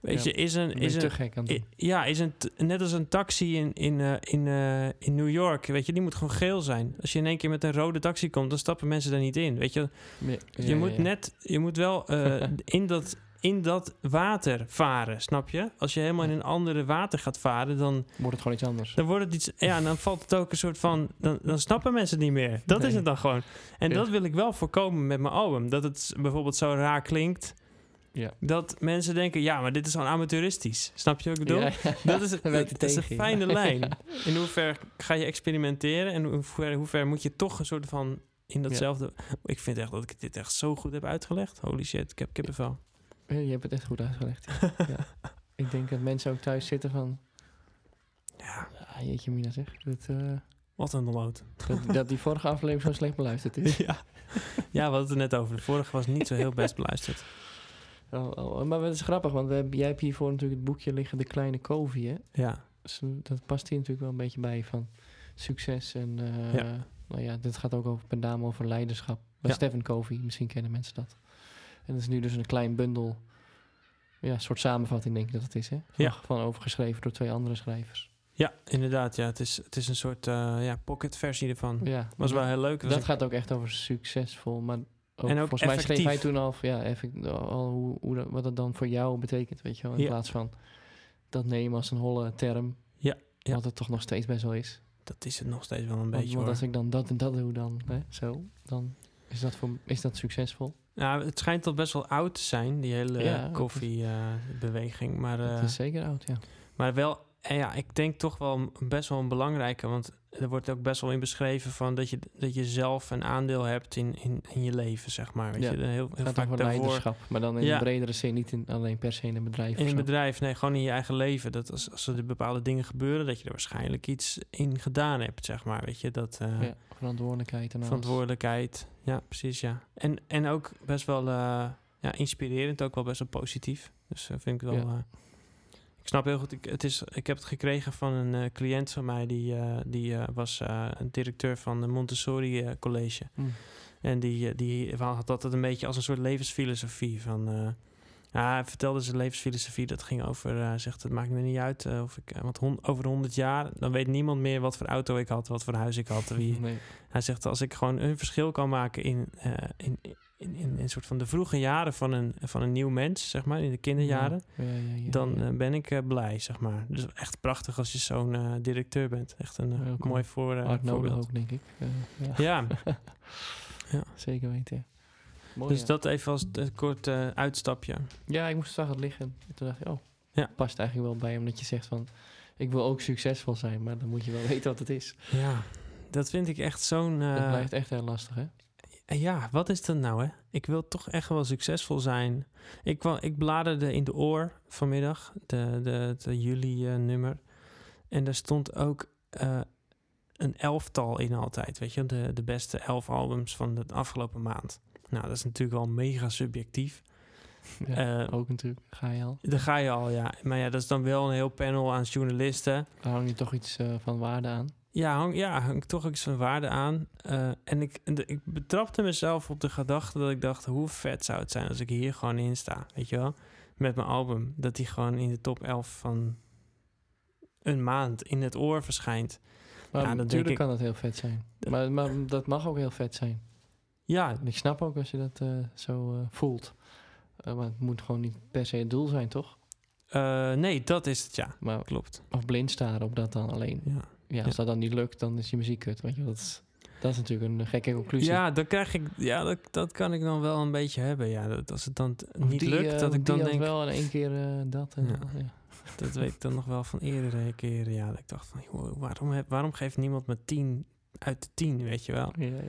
S1: Weet
S2: Ja,
S1: je, is een.
S2: dan ben
S1: Is
S2: je
S1: een
S2: te gek aan het
S1: i-
S2: doen.
S1: ja, is een t- net als een taxi in, in, eh, in, eh, in New York. Weet je, die moet gewoon geel zijn. Als je in één keer met een rode taxi komt, dan stappen mensen er niet in. Weet je,
S2: Ja,
S1: je
S2: ja,
S1: moet
S2: ja.
S1: net, je moet wel eh, in, dat, in dat water varen, snap je? Als je helemaal in een andere water gaat varen, dan,
S2: Wordt het gewoon iets anders.
S1: dan wordt het iets, ja, en dan valt het ook een soort van, dan, dan snappen mensen het niet meer. Dat is
S2: Nee.
S1: het dan gewoon. En
S2: Ja.
S1: dat wil ik wel voorkomen met mijn album, dat het s- bijvoorbeeld zo raar klinkt.
S2: Ja.
S1: Dat mensen denken, ja, maar dit is al amateuristisch. Snap je wat ik bedoel?
S2: Ja,
S1: Dat is,
S2: Dan werkt
S1: dat
S2: het
S1: is een
S2: tegen je.
S1: fijne lijn. In hoever ga je experimenteren en hoe ver, hoe ver moet je toch een soort van in datzelfde. Ik vind echt dat ik dit echt zo goed heb uitgelegd. Holy shit, ik heb kippenvel.
S2: Ja, Je hebt het echt goed uitgelegd. ja. Ik denk dat mensen ook thuis zitten van...
S1: Ja,
S2: Ah, jeetje mina zeg. Dat, eh,
S1: wat een lood.
S2: dat, dat die vorige aflevering zo slecht beluisterd is.
S1: Ja. ja, we hadden het er net over. De vorige was niet zo heel best beluisterd.
S2: Oh, oh, maar dat is grappig, want we hebben- jij hebt hiervoor natuurlijk het boekje liggen De Kleine Covey, hè?
S1: Ja,
S2: Dus dat past hier natuurlijk wel een beetje bij van succes en... eh,
S1: Ja.
S2: Nou ja, dit gaat ook over, met name over leiderschap. Bij
S1: Ja.
S2: Stephen Covey, misschien kennen mensen dat. En dat is nu dus een klein bundel, ja, een soort samenvatting denk ik dat het is, hè? Van,
S1: Ja.
S2: van overgeschreven door twee andere schrijvers.
S1: ja inderdaad. Ja, het, is, het is een soort eh ja, pocket versie ervan.
S2: Ja,
S1: Was wel heel leuk. Was
S2: dat
S1: een-
S2: gaat ook echt over succesvol, maar ook,
S1: En ook
S2: volgens mij schreef
S1: effectief.
S2: hij toen al, ja, effect, al hoe, hoe dat, wat dat dan voor jou betekent, weet je wel, in
S1: Ja.
S2: plaats van dat nemen als een holle term,
S1: Ja, ja.
S2: wat het toch nog steeds best wel is.
S1: dat is het nog steeds wel een
S2: Want,
S1: beetje.
S2: want
S1: hoor.
S2: als ik dan dat en dat doe, dan hè, zo, dan is dat, voor, is dat succesvol.
S1: Nou, het schijnt al best wel oud te zijn, die hele eh,
S2: Ja, dat is-
S1: koffiebeweging. maar
S2: dat
S1: eh,
S2: is zeker oud, ja.
S1: Maar wel, eh, ja, ik denk toch wel m- best wel een belangrijke. Want er wordt ook best wel in beschreven van dat je, dat je zelf een aandeel hebt in, in, in je leven, zeg maar. Weet
S2: Ja,
S1: je, heel, heel
S2: Het gaat
S1: vaak
S2: over
S1: daarvoor
S2: leiderschap, maar dan in
S1: Ja.
S2: een bredere zin, niet in, alleen per se in een bedrijf.
S1: In
S2: of
S1: een
S2: zo.
S1: bedrijf, nee, gewoon in je eigen leven. Dat als, als er bepaalde dingen gebeuren, dat je er waarschijnlijk iets in gedaan hebt, zeg maar. Weet je, dat eh,
S2: Ja, verantwoordelijkheid en alles.
S1: verantwoordelijkheid. Ja, precies, ja. En, en ook best wel eh, ja, inspirerend, ook wel best wel positief. Dus eh, vind ik wel...
S2: Ja.
S1: eh, ik snap heel goed, ik, het is, ik heb het gekregen van een eh, cliënt van mij... die, eh, die eh, was eh, een directeur van de Montessori eh, College.
S2: Mm.
S1: En die, eh, die had altijd een beetje als een soort levensfilosofie van... eh, ja, hij vertelde zijn levensfilosofie, dat ging over, eh, zegt het maakt me niet uit, eh, of ik, eh, want hon- over 100 jaar, dan weet niemand meer wat voor auto ik had, wat voor huis ik had, wie,
S2: Nee.
S1: hij zegt, als ik gewoon een verschil kan maken in, eh, in, in, in, in een soort van de vroege jaren van een, van een nieuw mens, zeg maar, in de kinderjaren,
S2: Ja, ja, ja, ja,
S1: dan
S2: ja.
S1: eh, ben ik eh, blij, zeg maar. Dus echt prachtig als je zo'n eh, directeur bent. Echt een eh,
S2: Heel cool.
S1: mooi voor, eh,
S2: Hard nodig
S1: voorbeeld.
S2: ook, denk ik. Eh, ja.
S1: Ja,
S2: Zeker weten. ja. Mooi,
S1: dus
S2: Oh, ja.
S1: dat even als een kort eh, uitstapje.
S2: ja, ik moest zag het liggen. En Toen dacht ik, oh,
S1: Ja.
S2: past eigenlijk wel bij omdat je zegt van, ik wil ook succesvol zijn, maar dan moet je wel weten wat het is.
S1: Ja, dat vind ik echt zo'n... eh,
S2: dat blijft echt heel lastig, hè?
S1: Ja, wat is dat nou, hè? Ik wil toch echt wel succesvol zijn. Ik, kwam, ik bladerde in de oor vanmiddag, de, de, de juli-nummer. en daar stond ook eh, een elftal in altijd, weet je? De, de beste elf albums van de afgelopen maand. Nou, dat is natuurlijk wel mega subjectief.
S2: Ja,
S1: Eh,
S2: ook natuurlijk, ga je al.
S1: daar ga je al, ja. Maar ja, dat is dan wel een heel panel aan journalisten.
S2: Daar hang je toch iets eh, van waarde aan.
S1: Ja, hang, ja, hang toch ook iets van waarde aan. Eh, en ik, en de- ik betrapte mezelf op de gedachte dat ik dacht... hoe vet zou het zijn als ik hier gewoon in sta, weet je wel? Met mijn album. Dat die gewoon in de top 11 van een maand in het oor verschijnt.
S2: Maar
S1: Ja, dat denk
S2: natuurlijk
S1: ik-
S2: kan dat heel vet zijn. Maar, maar dat mag ook heel vet zijn.
S1: Ja,
S2: En ik snap ook als je dat eh, zo eh, voelt. Eh, maar het moet gewoon niet per se het doel zijn, toch?
S1: eh, nee, dat is het, ja.
S2: Maar,
S1: Klopt,
S2: of blind staren op dat dan alleen.
S1: ja.
S2: Ja, als dat dan niet lukt, dan is je muziek kut. Weet je, dat is, dat is natuurlijk een gekke conclusie.
S1: Ja, dan krijg ik, ja dat, dat kan ik dan wel een beetje hebben. Ja, dat, als het dan t-
S2: Of
S1: niet
S2: die,
S1: lukt,
S2: eh,
S1: dat
S2: of
S1: ik dan
S2: die had
S1: denk...
S2: wel in één keer eh, dat en
S1: Ja.
S2: dat, ja.
S1: Dat weet ik dan nog wel van eerdere keren. Ja, dat ik dacht van, joh, waarom, heb, waarom geeft niemand me 10 uit de 10, weet je wel?
S2: Ja, ja, ja.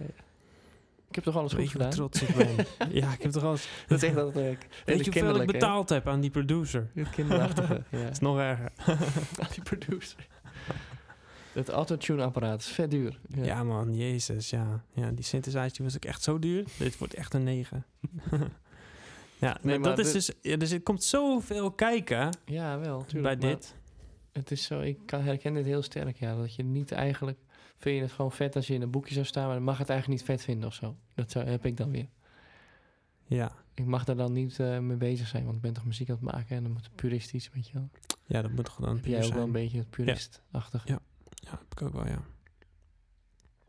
S2: Ik heb toch alles
S1: Weet
S2: goed
S1: je hoe
S2: gedaan?
S1: trots ik ben? ja, ik heb toch al eens...
S2: Dat is echt dat eh, hele
S1: Weet je hoeveel ik
S2: kinderlijke, hè?
S1: betaald heb aan die producer? Dat
S2: Het kinderachtige, ja.
S1: is nog erger.
S2: Aan die producer. Het autotune-apparaat is vet duur.
S1: Ja, man, jezus, ja. Ja, die synthesizer die was ook echt zo duur. Dit wordt echt een 9. Ja,
S2: Nee,
S1: maar dat
S2: maar
S1: is dus, ja, dus er komt zoveel kijken
S2: Ja, wel,
S1: bij
S2: tuurlijk. maar
S1: dit.
S2: Het is zo, ik kan, herken dit heel sterk, ja. Dat je niet eigenlijk... Vind je het gewoon vet als je in een boekje zou staan... maar dan mag het eigenlijk niet vet vinden of zo. Dat zou, heb ik dan weer.
S1: Ja.
S2: Ik mag daar dan niet eh, mee bezig zijn, want ik ben toch muziek aan het maken... en dan moet het puristisch, weet je wel.
S1: ja, dat moet gewoon
S2: Heb jij ook wel een
S1: zijn.
S2: beetje het purist-achtige?
S1: Ja. Ja, heb ik ook wel, ja.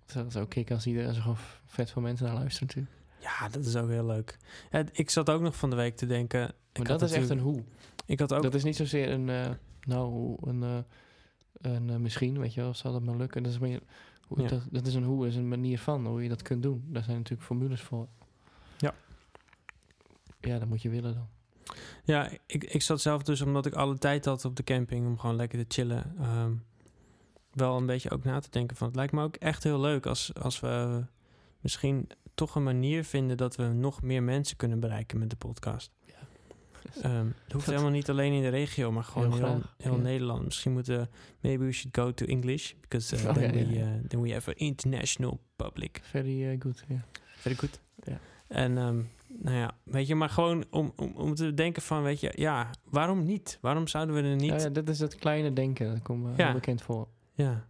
S2: Dat is ook kick als, iedereen, als er gewoon v- vet veel mensen naar luisteren natuurlijk.
S1: Ja, dat is ook heel leuk. Ja, d- ik zat ook nog van de week te denken...
S2: Maar
S1: ik
S2: dat
S1: had
S2: is echt een
S1: natuurlijk-
S2: hoe.
S1: Ik had ook...
S2: Dat is niet zozeer een, eh, nou, hoe, een, eh, een eh, misschien, weet je wel, zal dat maar lukken. Dat is, meer, hoe,
S1: Ja.
S2: dat, dat is een hoe, is een manier van hoe je dat kunt doen. Daar zijn natuurlijk formules voor.
S1: Ja.
S2: Ja, dat moet je willen dan.
S1: Ja, ik, ik zat zelf dus, omdat ik alle tijd had op de camping om gewoon lekker te chillen, ehm, wel een beetje ook na te denken van het lijkt me ook echt heel leuk als, als we misschien toch een manier vinden dat we nog meer mensen kunnen bereiken met de podcast.
S2: Ja.
S1: Ehm, het hoeft
S2: Dat-
S1: helemaal niet alleen in de regio, maar gewoon
S2: Heel
S1: heel, heel,
S2: graag, ja.
S1: Nederland. Misschien moeten, maybe we should go to English, because uh,
S2: Oh,
S1: then,
S2: ja, ja,
S1: we,
S2: ja.
S1: uh, then we have an international public.
S2: Very eh, good, ja.
S1: Very goed.
S2: Ja.
S1: En ehm, nou ja, weet je, maar gewoon om, om, om te denken van, weet je, ja, waarom niet? Waarom zouden we er niet...
S2: Nou ja, dat is dat kleine denken, dat komt eh,
S1: Ja.
S2: heel bekend voor.
S1: Ja.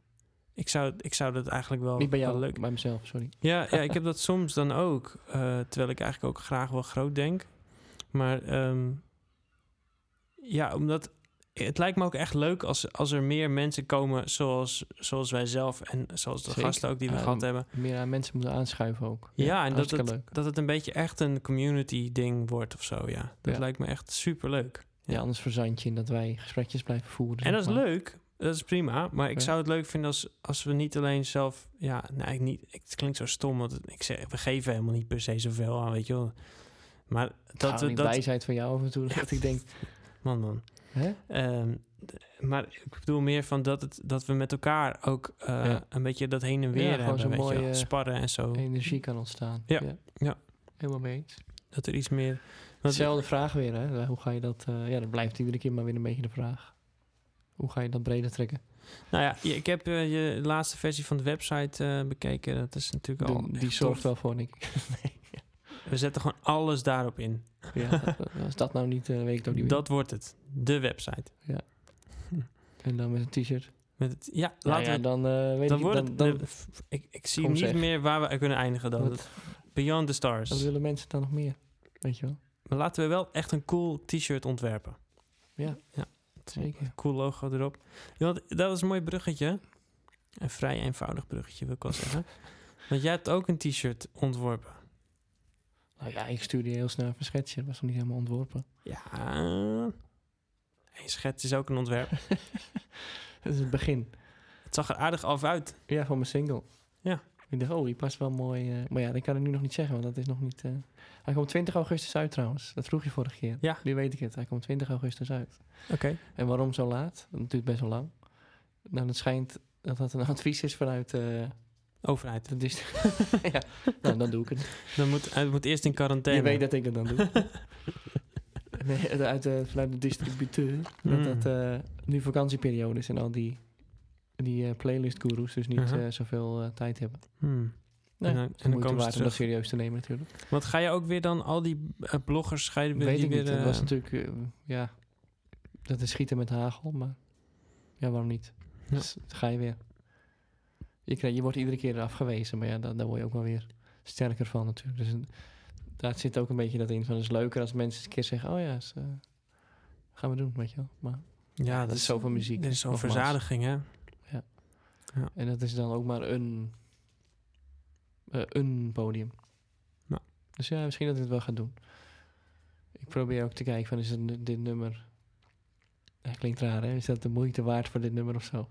S1: Ik zou, ik zou dat eigenlijk wel,
S2: Niet bij
S1: Oh, wel
S2: jou,
S1: leuk...
S2: bij mezelf, sorry.
S1: Ja, ja, ik heb dat soms dan ook. eh, terwijl ik eigenlijk ook graag wel groot denk. Maar ehm, ja, omdat... Het lijkt me ook echt leuk als, als er meer mensen komen zoals, zoals wij zelf... en zoals de
S2: Zeker.
S1: gasten ook die we
S2: Ah,
S1: gehad hebben.
S2: Meer aan mensen moeten aanschuiven ook.
S1: Ja, en dat
S2: hartstikke
S1: het,
S2: leuk.
S1: dat het een beetje echt een community ding wordt of zo, ja. Dat
S2: Ja.
S1: lijkt me echt super leuk.
S2: Ja, anders verzand je in dat wij gesprekjes blijven voeren.
S1: En
S2: zeg
S1: dat is
S2: maar.
S1: leuk, dat is prima. Maar ik
S2: Ja.
S1: zou het leuk vinden als, als we niet alleen zelf... Ja, nee, ik niet, ik- het klinkt zo stom, want het- ik zeg, we geven helemaal niet per se zoveel aan, weet je wel. Maar
S2: Dat,
S1: dat we...
S2: die
S1: Dat,
S2: wijsheid van jou af en toe, dat ik denk,
S1: Man, man.
S2: hè?
S1: Ehm, d- maar ik bedoel meer van dat, het, dat we met elkaar ook eh,
S2: Ja.
S1: een beetje dat heen en
S2: Ja,
S1: weer
S2: gewoon
S1: hebben.
S2: zo'n
S1: weet je wel.
S2: mooie-
S1: Sparren en zo.
S2: energie kan ontstaan.
S1: Oh. Ja, ja.
S2: Helemaal mee eens.
S1: Dat er iets meer... want-
S2: Hetzelfde vraag weer, hè? Hoe ga je dat... eh, ja, dat blijft iedere keer maar weer een beetje de vraag. Hoe ga je dat breder trekken?
S1: Nou ja, je- ik heb eh, je laatste versie van de website eh, bekeken. Dat is natuurlijk
S2: De-
S1: al. echt
S2: die zorgt
S1: tof.
S2: wel voor, denk ik.
S1: We zetten gewoon alles daarop in.
S2: ja, dat- als dat nou niet, eh, weet ik het ook niet
S1: Dat wordt het. De website.
S2: meer. En dan met een t-shirt.
S1: Met het, ja,
S2: Nou
S1: laten
S2: ja,
S1: we.
S2: dan eh, weet
S1: Dan
S2: ik
S1: wordt
S2: dan,
S1: het.
S2: dan,
S1: de- f- ik, ik zie
S2: Kom,
S1: niet
S2: zeg.
S1: meer waar we kunnen eindigen dan.
S2: wat,
S1: Beyond the
S2: wat
S1: Stars.
S2: willen mensen dan nog meer? Weet je wel?
S1: Maar laten we wel echt een cool t-shirt ontwerpen.
S2: Ja.
S1: ja.
S2: Zeker.
S1: Cool logo erop. Ja, want dat was een mooi bruggetje. Een vrij eenvoudig bruggetje, wil ik wel zeggen. Want jij hebt ook een t-shirt ontworpen.
S2: Nou ja, ik stuurde heel snel even een schetsje. Dat was nog niet helemaal ontworpen.
S1: Ja. Een schets is ook een ontwerp.
S2: Dat is het begin.
S1: Het zag er aardig af uit.
S2: Ja, van mijn single.
S1: Ja.
S2: Ik dacht, oh, die past wel mooi. eh, maar ja, dat kan ik nu nog niet zeggen, want dat is nog niet... eh, Hij komt 20 augustus uit trouwens. Dat vroeg je vorige keer.
S1: Ja.
S2: Nu weet ik het. Hij komt 20 augustus uit.
S1: Oké.
S2: En waarom zo laat? Dat duurt best wel lang. Nou, het schijnt dat dat een advies is vanuit eh,
S1: Overheid.
S2: de district. ja, nou, dan doe ik het.
S1: Dan moet, hij moet eerst in quarantaine.
S2: Je weet dat ik het dan doe. nee, uit, eh, vanuit de distributeur.
S1: Mm.
S2: Dat dat eh, nu vakantieperiode is en al die, die eh, playlist-gurus dus niet
S1: Mhm.
S2: eh, zoveel eh, tijd hebben.
S1: Hmm.
S2: Nee,
S1: en dan, en dan
S2: moeite
S1: komen ze
S2: waard om
S1: terug.
S2: dat serieus te nemen natuurlijk.
S1: Want ga je ook weer dan al die eh, bloggers... Ga je,
S2: Weet
S1: die
S2: ik
S1: weer,
S2: niet. Dat was
S1: eh,
S2: natuurlijk, eh, ja, dat is schieten met hagel, maar ja, waarom niet?
S1: Ja.
S2: Dus dan ga je weer. Je, krijg, je wordt iedere keer afgewezen, maar ja, da- daar word je ook wel weer sterker van natuurlijk. Dus een- daar zit ook een beetje dat in van, het is leuker als mensen eens een keer zeggen, oh ja, is, eh, gaan we doen, weet je wel. Maar,
S1: ja,
S2: dat is zoveel muziek,
S1: Er is zo'n
S2: nogmaals.
S1: verzadiging, hè?
S2: en dat is dan ook maar een, eh, een podium.
S1: Ja.
S2: Dus ja, misschien dat ik het wel ga doen. Ik probeer ook te kijken van, is het, nu- dit nummer... Ja, klinkt raar, hè? Is dat de moeite waard voor dit nummer of zo?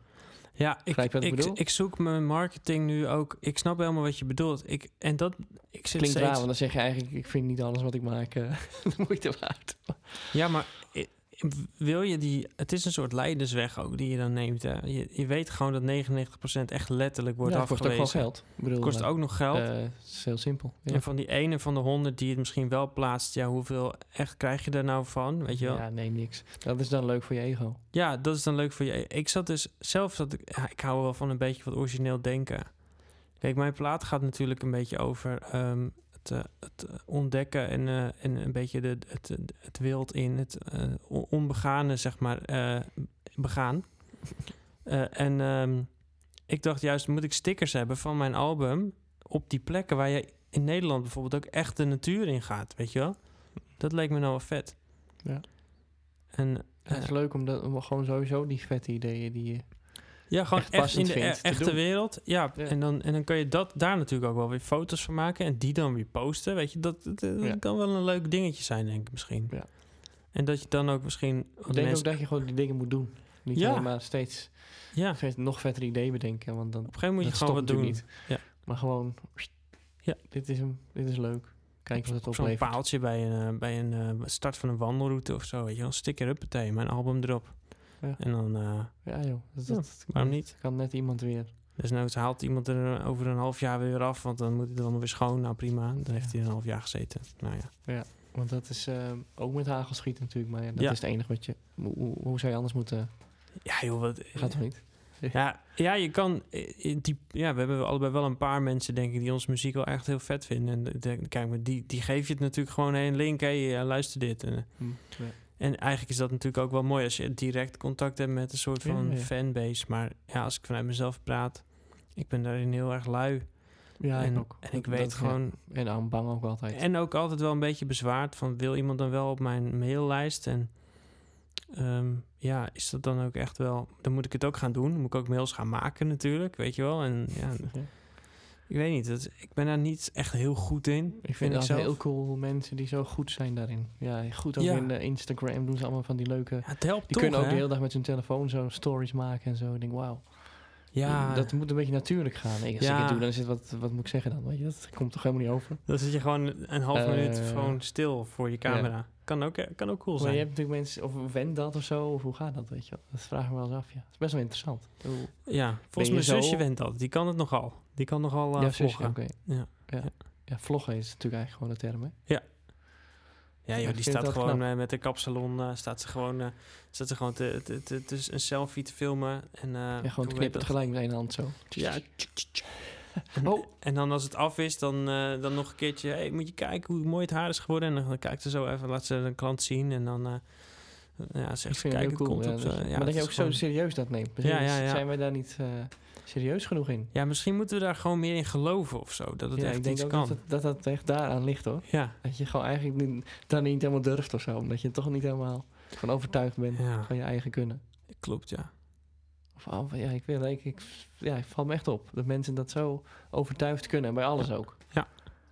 S1: Ja, ik,
S2: Begrijp je
S1: ik,
S2: wat ik
S1: ik,
S2: bedoel?
S1: zoek mijn marketing nu ook... Ik snap helemaal wat je bedoelt. Ik, en dat... Ik zit
S2: Klinkt raar,
S1: steeds,
S2: want dan zeg je eigenlijk... ik vind niet alles wat ik maak eh, de moeite waard.
S1: Ja, maar i- i- wil je die... Het is een soort leidersweg ook die je dan neemt, hè? Je, je weet gewoon dat 99% echt letterlijk wordt
S2: ja, het kost ook
S1: afgewezen.
S2: wel geld. Ik bedoel,
S1: Kost
S2: maar,
S1: ook nog geld.
S2: eh, het is heel simpel. Ja.
S1: En van die ene van de honderd die het misschien wel plaatst, ja, hoeveel echt krijg je daar nou van? Weet je wel? Ja,
S2: Ja, nee, niks. Dat is dan leuk voor je ego.
S1: dat is dan leuk voor je. Ik zat dus zelf, zat ik, ja, ik hou wel van een beetje wat origineel denken. Kijk, mijn plaat gaat natuurlijk een beetje over ehm, het het, eh, het eh, ontdekken en, eh, en een beetje de, het, het wild in, het eh, on- onbegane, zeg maar, eh, begaan. Eh, en ehm, ik dacht juist, moet ik stickers hebben van mijn album op die plekken waar je in Nederland bijvoorbeeld ook echt de natuur in gaat, weet je wel? Dat leek me nou wel vet.
S2: Ja.
S1: En
S2: Ja, het is leuk om, dat, om gewoon sowieso die vette ideeën die je...
S1: ja, gewoon echt,
S2: echt
S1: in
S2: passend
S1: de e-
S2: vindt te
S1: echte
S2: doen.
S1: wereld. Ja,
S2: Ja.
S1: En, dan, en dan kun je dat, daar natuurlijk ook wel weer foto's van maken en die dan weer posten. Weet je, dat, dat, dat
S2: Ja.
S1: kan wel een leuk dingetje zijn, denk ik misschien.
S2: Ja.
S1: En dat je dan ook misschien.
S2: Ik
S1: wat
S2: denk
S1: mensen-
S2: ook dat je gewoon die dingen moet doen. Niet
S1: Ja.
S2: alleen maar steeds
S1: ja, op
S2: vet- nog vetter idee bedenken, want dan
S1: een gegeven moment moet
S2: dat
S1: je gewoon wat
S2: stopt
S1: doen.
S2: natuurlijk
S1: Ja.
S2: Maar gewoon,
S1: Ja.
S2: dit is hem, dit is leuk. Kijk wat het
S1: Op Zo'n
S2: oplevert.
S1: paaltje bij een, eh, bij een eh, start van een wandelroute of zo. Weet je, wel, sticker uppatee, mijn album erop.
S2: Ja.
S1: En dan, eh
S2: Ja joh, dat,
S1: Ja,
S2: dat
S1: waarom niet?
S2: kan net iemand weer.
S1: Desnoods haalt iemand er eh, over een half jaar weer af, want dan moet hij er allemaal weer schoon. Nou prima, dan heeft hij er een half jaar gezeten. Nou ja.
S2: Want dat is eh, ook met hagelschiet natuurlijk, maar ja, dat
S1: Ja.
S2: is het enige wat je... Hoe, hoe- hoe zou je anders moeten...
S1: Ja joh, wat...
S2: Gaat toch niet?
S1: Ja, ja, je kan. eh, eh, Die, ja, we hebben allebei wel een paar mensen, denk ik, die onze muziek wel echt heel vet vinden. En ik denk, kijk, maar die, die geef je het natuurlijk gewoon een link. Hé, eh, luister dit. En, eh,
S2: Hm, Ja.
S1: en eigenlijk is dat natuurlijk ook wel mooi als je direct contact hebt met een soort van
S2: Ja, ja.
S1: fanbase. Maar ja, als ik vanuit mezelf praat, ik ben daarin heel erg lui.
S2: Ja,
S1: en,
S2: ik ook.
S1: En ik
S2: Dat-
S1: weet
S2: dat- ja.
S1: gewoon.
S2: En aan bang ook altijd.
S1: En ook altijd wel een beetje bezwaard van wil iemand dan wel op mijn maillijst? En ehm, ja, is dat dan ook echt wel. Dan moet ik het ook gaan doen. Dan moet ik ook mails gaan maken natuurlijk, weet je wel. En ja,
S2: Ja.
S1: ik weet niet. Dat, ik ben daar niet echt heel goed in.
S2: Ik vind dat
S1: zelf.
S2: heel cool, mensen die zo goed zijn daarin. Ja, goed ook
S1: Ja.
S2: in de Instagram doen ze allemaal van die leuke...
S1: Ja, het helpt
S2: Die
S1: toch,
S2: kunnen ook
S1: hè?
S2: de hele dag met hun telefoon zo stories maken en zo. Ik denk, wauw.
S1: Ja,
S2: Dat moet een beetje natuurlijk gaan. Ik, als ik
S1: Ja.
S2: het doe, dan zit wat, wat moet ik zeggen dan? Weet je, dat komt toch helemaal niet over.
S1: dan zit je gewoon een half
S2: Eh,
S1: minuut gewoon stil voor je camera. Kan, ook, eh, kan ook cool
S2: maar
S1: zijn.
S2: je hebt natuurlijk mensen, of went dat of zo, of hoe gaat dat, weet je wel. Dat vragen we wel eens af, ja. Dat is best wel interessant. Hoe-
S1: ja, volgens
S2: je
S1: mijn zusje
S2: zo-
S1: went dat. Die kan het nogal. Die kan nogal eh
S2: ja, zusje,
S1: vloggen.
S2: oké.
S1: Ja.
S2: Ja.
S1: Ja.
S2: Ja, vloggen is natuurlijk eigenlijk gewoon de term, hè.
S1: Ja,
S2: Ik
S1: joh, die
S2: vind het
S1: staat
S2: wel
S1: gewoon
S2: knap.
S1: eh, met de kapsalon, eh, staat ze gewoon, eh, staat ze gewoon te, te, te- te- een selfie te filmen. En, eh,
S2: Ja, gewoon
S1: hoe
S2: knippert
S1: heet
S2: gelijk met één hand zo.
S1: dat? Ja. En,
S2: Oh.
S1: en dan als het af is, dan, eh, dan nog een keertje, hey, moet je kijken hoe mooi het haar is geworden. En dan, dan kijkt ze zo even, laat ze een klant zien en dan eh, ja,
S2: Ik
S1: zegt ze,
S2: vind het
S1: kijk,
S2: heel
S1: het
S2: cool.
S1: komt
S2: ja,
S1: op
S2: dat
S1: de-
S2: je-
S1: ja,
S2: maar dat
S1: het
S2: je
S1: is
S2: ook
S1: gewoon-
S2: zo serieus dat neemt.
S1: Ja, ja, ja.
S2: Zijn wij daar niet eh, serieus genoeg in?
S1: Ja, misschien moeten we daar gewoon meer in geloven of zo, dat het
S2: ja,
S1: echt
S2: ik denk
S1: iets
S2: ook
S1: kan.
S2: Dat, het- dat dat echt daaraan ligt, hoor.
S1: Ja,
S2: Dat je gewoon eigenlijk niet, dan niet helemaal durft of zo. Omdat je toch niet helemaal van overtuigd bent
S1: ja,
S2: van je eigen kunnen.
S1: klopt, ja.
S2: Of, oh, ja, ik wil, ik, ik, ja, ik val me echt op dat mensen dat zo overtuigd kunnen. Bij alles ook.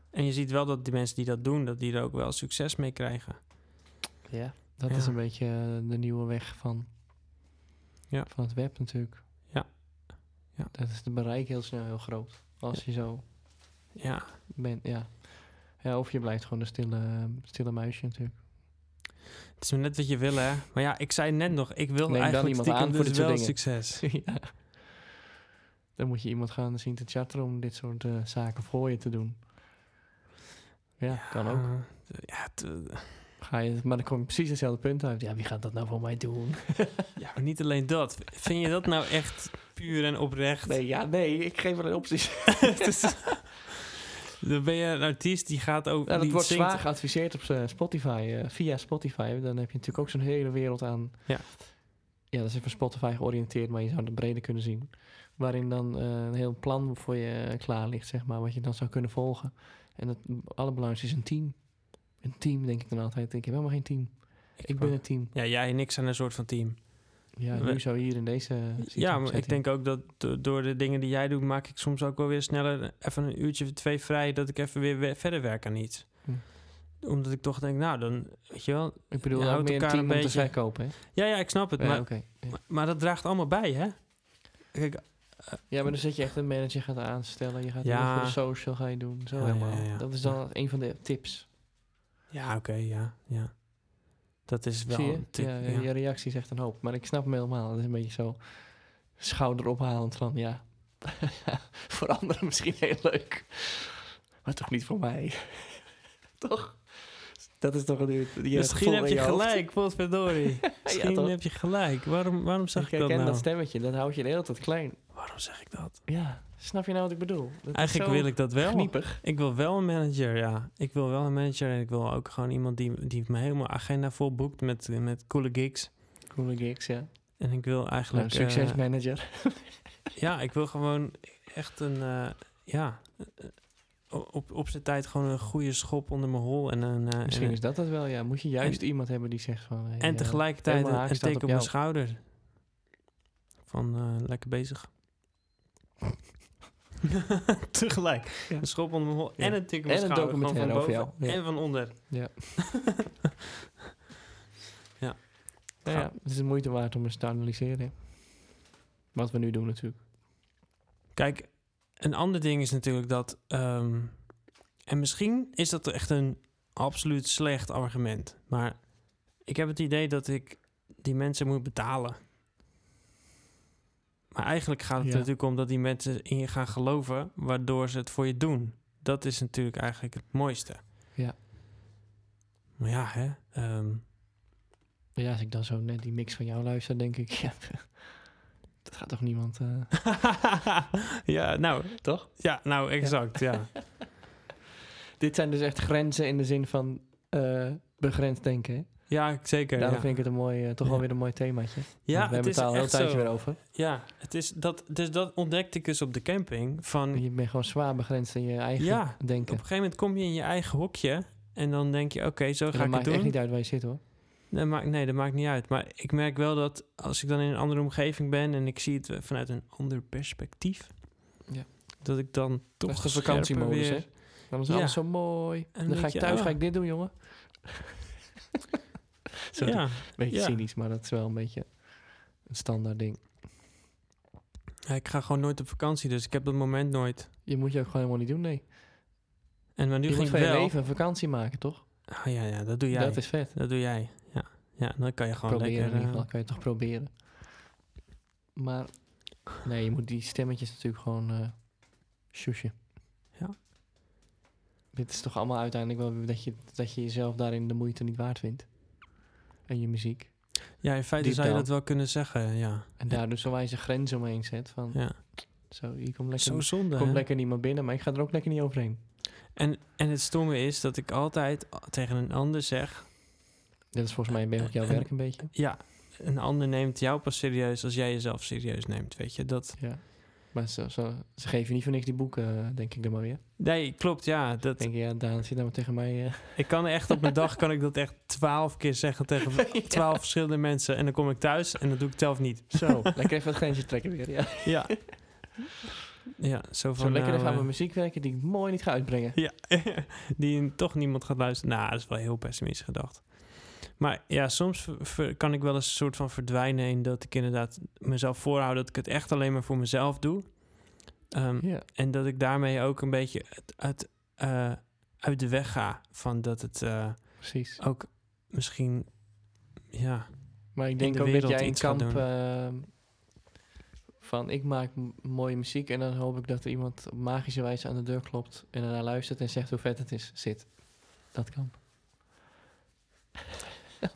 S1: En je ziet wel dat die mensen die dat doen, dat die er ook wel succes mee krijgen.
S2: Ja. Dat
S1: Ja.
S2: is een beetje eh, de nieuwe weg van,
S1: Ja.
S2: van het web natuurlijk.
S1: Ja. Ja.
S2: Dat is de bereik heel snel heel groot. Als je zo
S1: Ja,
S2: bent, ja. ja. Of je blijft gewoon een stille, stille muisje natuurlijk.
S1: Het is maar net wat je wil, hè. Maar ja, ik zei net nog, ik wil
S2: Neem dan
S1: eigenlijk
S2: iemand
S1: stiekem
S2: aan voor
S1: dus
S2: dit soort
S1: wel
S2: dingen.
S1: succes.
S2: ja. Dan moet je iemand gaan zien te chatten om dit soort eh, zaken voor je te doen. Ja, kan ook.
S1: Eh, ja, het, eh,
S2: Ga je, maar dan kom je precies hetzelfde punt uit. Ja, wie gaat dat nou voor mij doen?
S1: ja, maar niet alleen dat. Vind je dat nou echt puur en oprecht?
S2: Nee, ja, nee, ik geef alleen
S1: Nou,
S2: opties.
S1: Het is- dan ben je een artiest die gaat over...
S2: Nou, dat
S1: die
S2: wordt
S1: zingt-
S2: zwaar geadviseerd op eh, Spotify. eh, via Spotify. Dan heb je natuurlijk ook zo'n hele wereld aan.
S1: Ja.
S2: Ja, dat is even Spotify georiënteerd, maar je zou het breder kunnen zien. Waarin dan eh, een heel plan voor je eh, klaar ligt, zeg maar, wat je dan zou kunnen volgen. En het allerbelangrijkste is een team. Een team, denk ik dan altijd. Ik heb helemaal geen team. Ik, ben
S1: ook.
S2: het team.
S1: Ja, jij en ik zijn een soort van team.
S2: Ja,
S1: We-
S2: nu zou hier in deze.
S1: Ja, maar ik denk ook dat do- door de dingen die jij doet... maak ik soms ook wel weer sneller even een uurtje of twee vrij... dat ik even weer we- verder werk aan iets.
S2: Hm.
S1: Omdat ik toch denk, nou, dan... Weet je wel...
S2: Ik bedoel,
S1: je
S2: ook
S1: houdt
S2: meer een
S1: elkaar
S2: team
S1: een
S2: om te
S1: beetje-
S2: verkopen. Hè?
S1: Ja, ja, ik snap het.
S2: Ja,
S1: maar,
S2: oké. Ja.
S1: maar, maar dat draagt allemaal bij, hè? Kijk,
S2: Ja, maar dan zit je echt een manager gaat aanstellen. Je gaat
S1: Ja.
S2: heel veel social ga je doen. Zo
S1: Ja, ja,
S2: helemaal.
S1: ja.
S2: Dat is dan een van de tips.
S1: Ja, oké, ja, ja. Dat is wel
S2: Zie je?
S1: een tip,
S2: ja,
S1: ja.
S2: Je reactie zegt een hoop. Maar ik snap hem helemaal. Dat is een beetje zo schouderophalend van ja. voor anderen misschien heel leuk. Maar toch niet voor mij. toch? Dat is toch een je
S1: Misschien
S2: gevoel
S1: heb
S2: in
S1: je,
S2: hoofd.
S1: gelijk, potverdorie. Misschien
S2: toch?
S1: heb je gelijk. Waarom, waarom zeg ik,
S2: ik herken
S1: dat
S2: dat,
S1: nou?
S2: stemmetje. Dat houd je de hele tijd klein.
S1: Waarom zeg ik dat?
S2: Ja. Snap je nou wat ik bedoel? Dat is
S1: Eigenlijk
S2: zo
S1: wil ik dat wel.
S2: Kniepig.
S1: Ik wil wel een manager, ja. Ik wil wel een manager en ik wil ook gewoon iemand die, die mijn hele agenda vol boekt met, met coole gigs.
S2: Coole gigs, ja.
S1: En ik wil
S2: Nou,
S1: eigenlijk... eh,
S2: succesmanager.
S1: ja, ik wil gewoon echt een... eh, ja, eh, op, op zijn tijd gewoon een goede schop onder mijn hol. En, een, eh,
S2: Misschien
S1: en,
S2: is dat dat wel, ja. Moet je juist iemand hebben die zegt van... hey,
S1: en
S2: eh,
S1: tegelijkertijd
S2: helemaal
S1: een, een
S2: haak staat
S1: teken
S2: op
S1: op mijn
S2: jou.
S1: schouder. Van eh, lekker bezig. Tegelijk.
S2: Ja.
S1: Een schop onder mijn hol
S2: Ja.
S1: en een tik op
S2: En
S1: mijn
S2: een
S1: schouder. gewoon
S2: documentaire
S1: van
S2: over
S1: boven
S2: jou. Ja.
S1: en van onder.
S2: nou ja, het is de moeite waard om eens te analyseren. hè. Wat we nu doen natuurlijk.
S1: Kijk, een ander ding is natuurlijk dat. ehm, en misschien is dat echt een absoluut slecht argument. Maar ik heb het idee dat ik die mensen moet betalen. Maar eigenlijk gaat het
S2: Ja.
S1: natuurlijk om dat die mensen in je gaan geloven, waardoor ze het voor je doen. Dat is natuurlijk eigenlijk het mooiste.
S2: Ja.
S1: Maar ja, hè. ehm,
S2: Maar ja, als ik dan zo net die mix van jou luister, denk ik... Ja, dat gaat toch niemand... eh,
S1: ja, nou.
S2: Toch?
S1: Ja, nou, exact, ja.
S2: Dit zijn dus echt grenzen in de zin van eh, begrensd denken. Hè?
S1: Ja, zeker.
S2: Daarom
S1: ja.
S2: vind ik het een mooi, eh, toch wel
S1: Ja.
S2: weer een mooi themaatje.
S1: ja,
S2: Want we hebben het al een heel
S1: echt
S2: tijdje
S1: zo.
S2: weer over.
S1: Ja, het is dat, dus dat ontdekte ik dus op de camping. Van, op
S2: Je bent gewoon zwaar begrensd in je eigen
S1: Ja, een
S2: denken.
S1: gegeven moment kom je in je eigen hokje. En dan denk je, oké, zo
S2: En
S1: ga
S2: dat
S1: ik het
S2: maakt echt
S1: doen.
S2: niet uit waar je zit hoor.
S1: Dat maakt, nee, dat maakt niet uit. Maar ik merk wel dat als ik dan in een andere omgeving ben... en ik zie het eh, vanuit een ander perspectief...
S2: Ja.
S1: dat ik dan toch
S2: Dat is de
S1: scherper
S2: vakantiemodus, hè?
S1: weer-
S2: Dan is
S1: Ja.
S2: alles zo mooi.
S1: dan
S2: dan ga
S1: denk
S2: ik
S1: je,
S2: thuis
S1: ah.
S2: ga ik dit doen, jongen. Sorry,
S1: Ja,
S2: beetje
S1: ja.
S2: cynisch, maar dat is wel een beetje een standaard ding.
S1: Ja, ik ga gewoon nooit op vakantie, dus ik heb dat moment nooit.
S2: Je moet je ook gewoon helemaal niet doen, nee.
S1: En maar nu
S2: je
S1: ging
S2: moet
S1: ik
S2: van je
S1: wel...
S2: leven een vakantie maken, toch?
S1: Ah, ja, ja, dat doe jij.
S2: Dat is vet.
S1: Dat doe jij, ja. Ja, dan kan je gewoon
S2: proberen in
S1: lekker...
S2: ieder
S1: eh,
S2: geval, kan je toch proberen. Maar nee, je moet die stemmetjes natuurlijk gewoon eh shushen.
S1: Ja.
S2: Dit is toch allemaal uiteindelijk wel weer dat je, dat je jezelf daarin de moeite niet waard vindt. En je muziek.
S1: ja, in feite
S2: diep
S1: zou je
S2: down.
S1: dat wel kunnen zeggen, ja.
S2: En daar dus zo wijze grens omheen zet van
S1: ja.
S2: zo, hier komt lekker,
S1: Zo zonde,
S2: komt
S1: hè?
S2: lekker niet meer binnen, maar ik ga er ook lekker niet overheen.
S1: En, en het stomme is dat ik altijd a- tegen een ander zeg...
S2: Dat is volgens mij een beetje ook jouw
S1: En-
S2: werk een beetje.
S1: Ja, een ander neemt jou pas serieus als jij jezelf serieus neemt, weet je. Dat,
S2: Ja. Maar zo, zo, ze geven je niet voor niks die boeken, eh, denk ik dan maar weer.
S1: nee, klopt, ja. Dat,
S2: Denk je, ja, Daan zit nou maar tegen mij. eh,
S1: ik kan echt op een dag kan ik dat echt twaalf keer zeggen tegen twaalf verschillende mensen. En dan kom ik thuis en dat doe ik het zelf niet.
S2: zo, lekker even het grensje trekken weer. Ja.
S1: Ja. ja, zo van...
S2: Zo lekker
S1: nou,
S2: even aan
S1: eh,
S2: mijn muziek werken die ik mooi niet ga uitbrengen.
S1: Ja, die toch niemand gaat luisteren. Nou, dat is wel heel pessimistisch gedacht. Maar ja, soms ver- ver- kan ik wel eens een soort van verdwijnen in dat ik inderdaad mezelf voorhoud dat ik het echt alleen maar voor mezelf doe. Ehm,
S2: Ja.
S1: En dat ik daarmee ook een beetje uit, uit, eh, uit de weg ga van dat het eh,
S2: Precies.
S1: ook misschien, ja,
S2: Maar ik denk
S1: de
S2: ook dat
S1: wereld
S2: jij in
S1: iets gaat
S2: kamp
S1: doen.
S2: ehm, van ik maak m- mooie muziek en dan hoop ik dat er iemand op magische wijze aan de deur klopt en daarna luistert en zegt hoe vet het is. Zit. Dat kamp.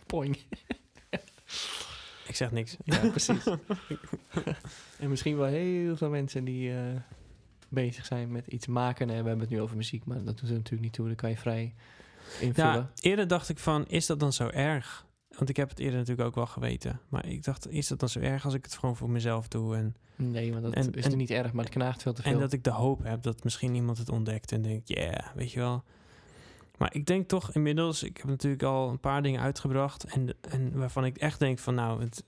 S2: Poing.
S1: ik zeg niks.
S2: Ja, precies. en misschien wel heel veel mensen die eh, bezig zijn met iets maken. En we hebben het nu over muziek, maar dat doet er natuurlijk niet toe. Dat kan je vrij invullen.
S1: Ja, eerder dacht ik van, is dat dan zo erg? Want ik heb het eerder natuurlijk ook wel geweten. Maar ik dacht, is dat dan zo erg als ik het gewoon voor mezelf doe? En
S2: Nee, want dat
S1: En-
S2: is
S1: en-
S2: niet erg, maar het knaagt veel te veel.
S1: En dat ik de hoop heb dat misschien iemand het ontdekt en denkt, ja, yeah, weet je wel. Maar ik denk toch inmiddels, ik heb natuurlijk al een paar dingen uitgebracht en, en waarvan ik echt denk van nou, het,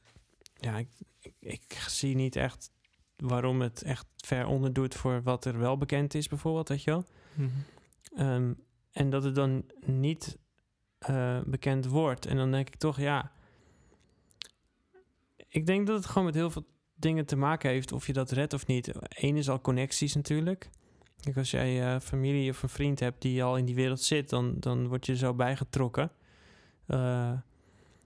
S1: ja, ik, ik, ik zie niet echt waarom het echt ver onder doet voor wat er wel bekend is bijvoorbeeld, weet je wel.
S2: Mhm.
S1: Ehm, en dat het dan niet eh, bekend wordt. En dan denk ik toch, ja. Ik denk dat het gewoon met heel veel dingen te maken heeft. Of je dat redt of niet. Eén is al connecties natuurlijk. Kijk, als jij eh, familie of een vriend hebt die al in die wereld zit, dan, dan word je er zo bijgetrokken. Eh,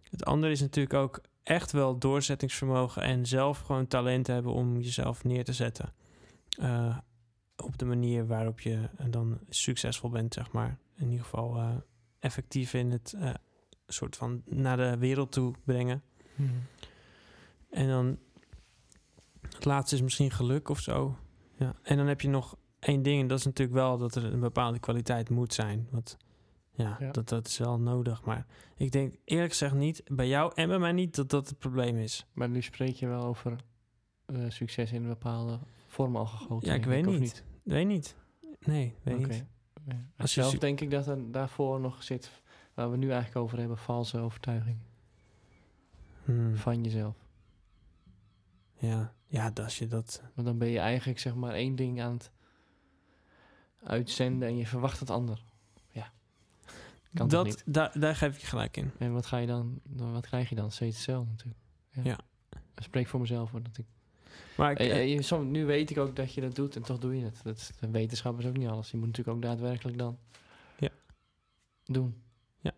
S1: het andere is natuurlijk ook echt wel doorzettingsvermogen en zelf gewoon talent hebben om jezelf neer te zetten. Eh, op de manier waarop je eh, dan succesvol bent, zeg maar. In ieder geval eh, effectief in het eh, soort van naar de wereld toe brengen.
S2: Mm-hmm.
S1: En dan het laatste is misschien geluk of zo. Ja, en dan heb je nog één ding, en dat is natuurlijk wel dat er een bepaalde kwaliteit moet zijn. Want ja,
S2: Ja.
S1: Dat, dat is wel nodig. Maar ik denk eerlijk gezegd niet, bij jou en bij mij niet, dat dat het probleem is.
S2: Maar nu spreek je wel over eh, succes in een bepaalde vorm al gegoten.
S1: Ja, ik
S2: denk
S1: weet
S2: of
S1: niet. Weet niet. Nee, weet
S2: Oké.
S1: niet.
S2: Ja.
S1: Als je
S2: Zelf
S1: su-
S2: denk ik dat er daarvoor nog zit waar we nu eigenlijk over hebben, valse overtuiging
S1: Hmm,
S2: van jezelf.
S1: ja. ja, dat als je dat...
S2: Want dan ben je eigenlijk zeg maar één ding aan het uitzenden en je verwacht het ander. Ja. Kan dat
S1: dat
S2: niet.
S1: daar- daar geef ik je gelijk in.
S2: En wat ga je dan, dan wat krijg je dan? Steeds hetzelfde natuurlijk.
S1: Ja.
S2: Ik Spreek voor mezelf hoor. Dat ik,
S1: Maar ik,
S2: Eh,
S1: eh,
S2: eh, je- soms, nu weet ik ook dat je dat doet en toch doe je het. Dat is, de wetenschap is ook niet alles. Je moet natuurlijk ook daadwerkelijk dan
S1: Ja.
S2: doen.
S1: Ja.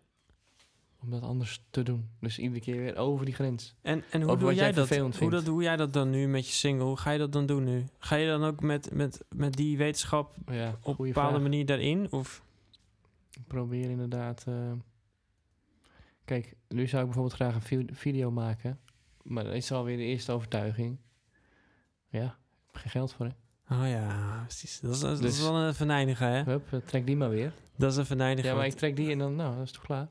S2: Om dat anders te doen. Dus iedere keer weer over die grens.
S1: En, en hoe
S2: Over
S1: doe
S2: wat
S1: jij
S2: jij
S1: dat?
S2: vervelend
S1: Hoe, dat?
S2: vindt.
S1: hoe jij dat dan nu met je single? Hoe ga je dat dan doen nu? Ga je dan ook met, met, met die wetenschap
S2: Ja,
S1: op een
S2: goeie
S1: bepaalde
S2: vraag.
S1: manier daarin? Of
S2: Ik probeer inderdaad. eh, kijk, nu zou ik bijvoorbeeld graag een vi- video maken. Maar dat is alweer de eerste overtuiging. Ja, ik heb geen geld voor hè.
S1: Oh ja, precies. Dat is, dat is
S2: Dus-
S1: wel een venijnige, hè?
S2: Hup, eh, trek die maar weer.
S1: Dat is een venijnige.
S2: Ja, maar ik
S1: want,
S2: trek die en dan, nou, dat is toch klaar.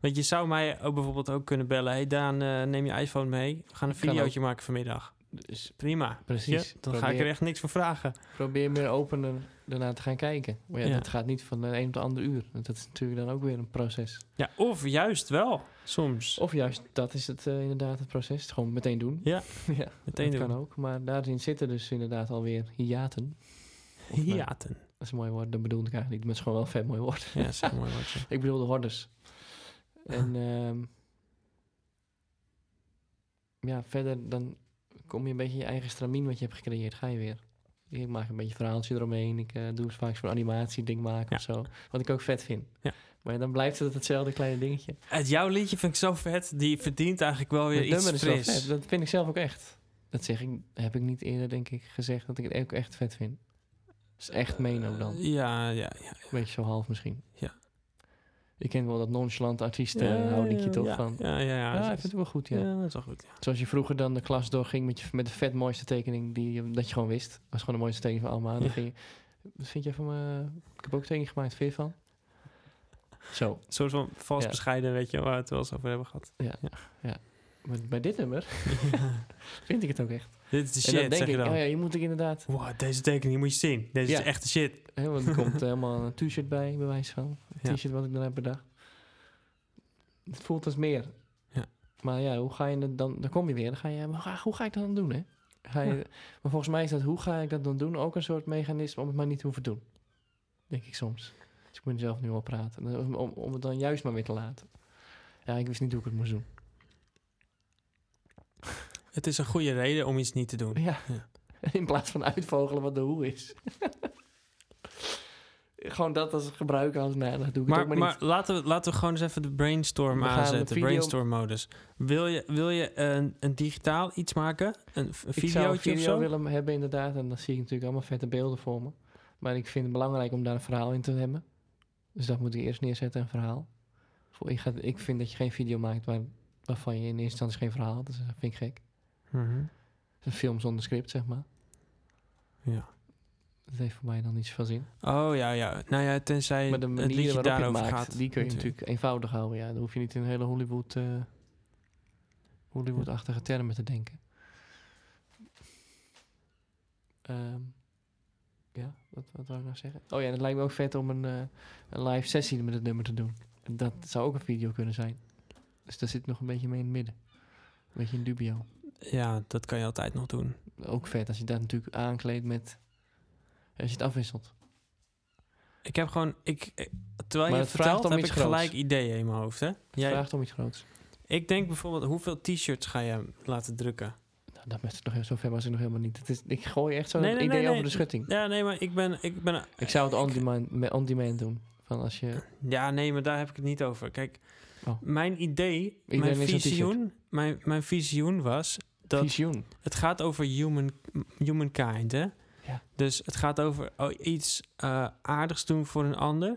S1: want je zou mij ook bijvoorbeeld ook kunnen bellen. hey Daan, eh, neem je iPhone mee. We gaan een
S2: Kan
S1: videootje maken vanmiddag.
S2: Dus
S1: Prima.
S2: Precies.
S1: Ja, dan ga ik
S2: Probeer-
S1: er echt niks voor vragen.
S2: probeer meer opener ernaar te gaan kijken. Maar ja,
S1: Ja.
S2: dat gaat niet van de een op de andere uur. Want Dat is natuurlijk dan ook weer een proces.
S1: Ja, of juist wel. Soms.
S2: Of juist, dat is het eh, inderdaad het proces. Het gewoon meteen doen.
S1: Ja.
S2: ja
S1: Meteen
S2: dat
S1: doen.
S2: kan ook. Maar daarin zitten dus inderdaad alweer hiaten. Of, nou,
S1: Hiaten.
S2: Dat is een mooi woord, dat bedoelde ik eigenlijk niet. Maar het is gewoon wel een vet mooi woord.
S1: Ja, dat is een mooi woordje.
S2: Ik bedoel de hordes. En
S1: Ah.
S2: ehm, ja, verder dan kom je een beetje je eigen stramien wat je hebt gecreëerd, ga je weer. Ik maak een beetje verhaaltje eromheen. Ik eh, doe vaak zo'n animatieding maken
S1: Ja.
S2: of zo. Wat ik ook vet vind.
S1: Ja.
S2: Maar dan blijft het hetzelfde kleine dingetje.
S1: Het jouw liedje vind ik zo vet. Die verdient eigenlijk wel weer
S2: Het
S1: iets
S2: nummer is wel
S1: fris.
S2: vet. Dat vind ik zelf ook echt. Dat zeg ik, heb ik niet eerder, denk ik, gezegd dat ik het ook echt vet vind. Dat is echt meen ook dan.
S1: Eh, ja, ja, ja.
S2: Beetje zo half misschien.
S1: Ja.
S2: Je kent wel dat nonchalant artiesten
S1: Ja,
S2: houdingje
S1: ja,
S2: toch?
S1: ja,
S2: van,
S1: Ja, ja, ja. dat
S2: ja, ik vind
S1: Ah, is-
S2: het wel goed, ja.
S1: ja, dat is wel goed. Ja.
S2: Zoals je vroeger dan de klas doorging met, je, met de vet mooiste tekening die je, dat je gewoon wist. Dat was gewoon de mooiste tekening van allemaal. Dan
S1: Ja.
S2: ging je, wat vind je van me? Ik heb ook een tekening gemaakt, vind je van? Zo.
S1: Een soort van vals
S2: Ja.
S1: bescheiden, weet je, waar we het wel eens over hebben gehad.
S2: Maar bij dit nummer vind ik het ook echt.
S1: Dit is de
S2: en dan
S1: shit,
S2: denk
S1: zeg je
S2: ik,
S1: dan.
S2: oh ja, je moet ik inderdaad...
S1: Wow, deze tekening moet je zien. Deze
S2: Ja.
S1: is echt de shit.
S2: Hè, want er komt helemaal een t-shirt bij, bij wijze van. Een
S1: Ja.
S2: t-shirt wat ik dan heb bedacht. Het voelt als meer.
S1: Ja.
S2: Maar ja, hoe ga je het dan... Dan kom je weer, dan ga je... maar ga- hoe ga ik dat dan doen, hè? Ga je, Maar volgens mij is dat, hoe ga ik dat dan doen, ook een soort mechanisme om het maar niet te hoeven doen. Denk ik soms. Dus ik moet mezelf nu al praten. En Om, om, om het dan juist maar weer te laten. Ja, ik wist niet hoe ik het moest doen.
S1: Het is een goede reden om iets niet te doen.
S2: Ja.
S1: Ja.
S2: In plaats van uitvogelen wat de hoe is. Gewoon dat als gebruiken als, nou, dat doe ik het
S1: Maar,
S2: ook maar,
S1: maar
S2: niet.
S1: laten, we, laten we gewoon eens even de brainstorm
S2: We gaan met
S1: aanzetten.
S2: video-
S1: Brainstorm modus. Wil je, wil je een, een digitaal iets maken? Een, v- een
S2: Ik zou een
S1: videootje of
S2: video
S1: zo?
S2: willen hebben inderdaad. En dan zie ik natuurlijk allemaal vette beelden voor me. Maar ik vind het belangrijk om daar een verhaal in te hebben. Dus dat moet ik eerst neerzetten, een verhaal. Voor- Ik, ga, ik vind dat je geen video maakt waar, waarvan je in eerste instantie geen verhaal had. Dus dat vind ik gek.
S1: Mhm.
S2: Een film zonder script, zeg maar.
S1: Ja.
S2: Dat heeft voor mij dan niet zoveel zin.
S1: Oh ja, ja. Nou ja, tenzij
S2: Maar de
S1: het
S2: manier
S1: liedje
S2: waarop je het
S1: daarover
S2: maakt,
S1: gaat.
S2: die kun je natuurlijk eenvoudig houden. Ja. Dan hoef je niet in een hele Hollywood, eh, Hollywood-achtige termen te denken. Ehm, ja, wat, wat wou ik nou zeggen? Oh ja, en het lijkt me ook vet om een, eh, een live sessie met het nummer te doen. En Dat zou ook een video kunnen zijn. Dus daar zit nog een beetje mee in het midden. Een beetje in dubio.
S1: Ja, dat kan je altijd nog doen.
S2: Ook vet als je dat natuurlijk aankleedt met... Als je het afwisselt.
S1: Ik heb gewoon... Ik, eh, terwijl
S2: Maar
S1: je
S2: het
S1: het vertelt,
S2: vraagt om
S1: heb ik
S2: iets
S1: gelijk
S2: groots.
S1: ideeën in mijn hoofd. Hè? Jij-
S2: Vraagt om iets groots.
S1: ik denk bijvoorbeeld, hoeveel t-shirts ga je laten drukken?
S2: Nou, dat is nog, zover was ik nog helemaal niet. Het is, ik gooi echt zo'n
S1: Nee, nee,
S2: idee
S1: nee, nee.
S2: over de schutting.
S1: Ja, nee, maar ik ben... Ik ben
S2: Ik zou het on-demand me- on-demand doen. Van als je...
S1: Ja, nee, maar daar heb ik het niet over. Kijk,
S2: Oh.
S1: mijn idee,
S2: Iedereen
S1: mijn
S2: is een t-shirt.
S1: visioen, mijn, mijn visioen was dat
S2: Visioen.
S1: het gaat over human, humankind, hè?
S2: Ja.
S1: Dus het gaat over o- iets eh, aardigs doen voor een ander.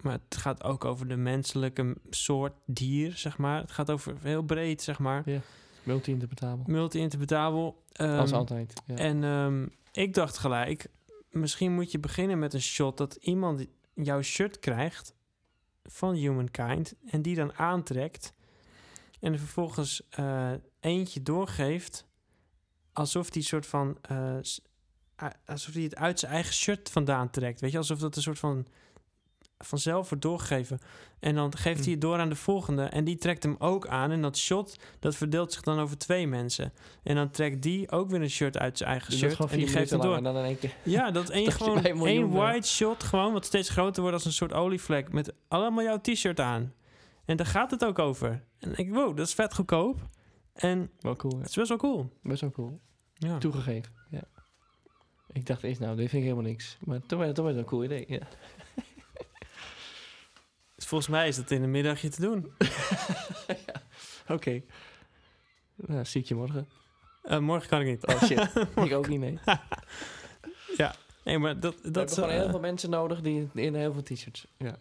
S1: Maar het gaat ook over de menselijke m- soort dier, zeg maar. Het gaat over heel breed, zeg maar.
S2: Ja. Multi-interpretabel.
S1: multi-interpretabel. ehm,
S2: Als altijd. Ja.
S1: En ehm, ik dacht gelijk, misschien moet je beginnen met een shot dat iemand jouw shirt krijgt van Humankind en die dan aantrekt en er vervolgens eh, eentje doorgeeft alsof die soort van eh, s- a- alsof die het uit zijn eigen shirt vandaan trekt, weet je, alsof dat een soort van vanzelf wordt doorgegeven en dan geeft
S2: Hm.
S1: hij het door aan de volgende en die trekt hem ook aan en dat shot dat verdeelt zich dan over twee mensen. En dan trekt die ook weer een shirt uit zijn eigen
S2: Dus dat is
S1: shirt.
S2: gewoon
S1: En die
S2: vier
S1: geeft
S2: minuten
S1: hem
S2: lang
S1: door.
S2: en dan in één keer.
S1: Ja, dat één
S2: Dat je
S1: gewoon
S2: bij een miljoen
S1: één
S2: bent.
S1: wide shot gewoon, wat steeds groter wordt als een soort olievlek. Met allemaal jouw t-shirt aan. En daar gaat het ook over. En ik, wow, dat is vet goedkoop. En
S2: Wel cool,
S1: het
S2: ja.
S1: is best wel cool.
S2: Best wel cool.
S1: Ja.
S2: Toegegeven, ja. Ik dacht eerst, nou, dit vind ik helemaal niks. Maar toch werd toch wel een cool idee, ja.
S1: Dus volgens mij is dat in een middagje te doen.
S2: Oké. Nou, zie ik je morgen.
S1: Eh, morgen kan ik niet.
S2: Oh shit, ik ook niet, nee.
S1: Nee, maar dat,
S2: We
S1: dat
S2: hebben
S1: is...
S2: gewoon heel
S1: eh,
S2: veel mensen nodig die in heel veel t-shirts. Ja.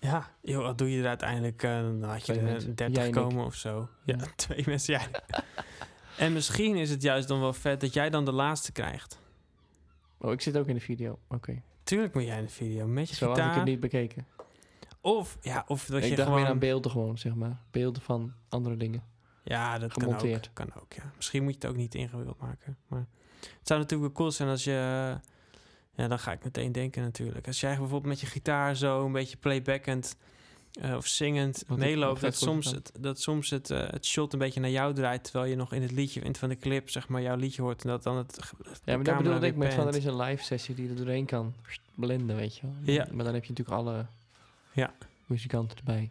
S1: Ja, joh, wat doe je er uiteindelijk? eh, dan had je
S2: Twee
S1: er
S2: mensen.
S1: eh, 30
S2: Jij en ik.
S1: komen of zo. Ja,
S2: Ja.
S1: twee mensen, jij. en misschien is het juist dan wel vet dat jij dan de laatste krijgt.
S2: Oh, ik zit ook in de video. Oké.
S1: Tuurlijk moet jij in de video met je
S2: Zo had ik
S1: gitaar.
S2: het niet bekeken.
S1: Of, ja, of dat je
S2: ik dacht
S1: gewoon...
S2: meer aan beelden gewoon, zeg maar. Beelden van andere dingen.
S1: ja, dat kan ook,
S2: gemonteerd.
S1: kan ook, ja. Misschien moet je het ook niet ingewikkeld maken. Maar het zou natuurlijk wel cool zijn als je... eh, Ja, dan ga ik meteen denken natuurlijk. Als jij bijvoorbeeld met je gitaar zo een beetje playbackend... eh, of zingend
S2: Wat ik-
S1: meeloopt,
S2: wat vet
S1: dat
S2: voor je
S1: soms,
S2: kan.
S1: het, dat soms het, eh, het shot een beetje naar jou draait... terwijl je nog in het liedje, in het van de clip, zeg maar, jouw liedje hoort... en dat dan het...
S2: Ja, maar
S1: camera
S2: dat bedoelde
S1: weer
S2: ik met van,
S1: pant.
S2: er is een live sessie die er doorheen kan blenden, weet je wel.
S1: Ja.
S2: Maar dan heb je natuurlijk alle
S1: Ja.
S2: muzikanten erbij.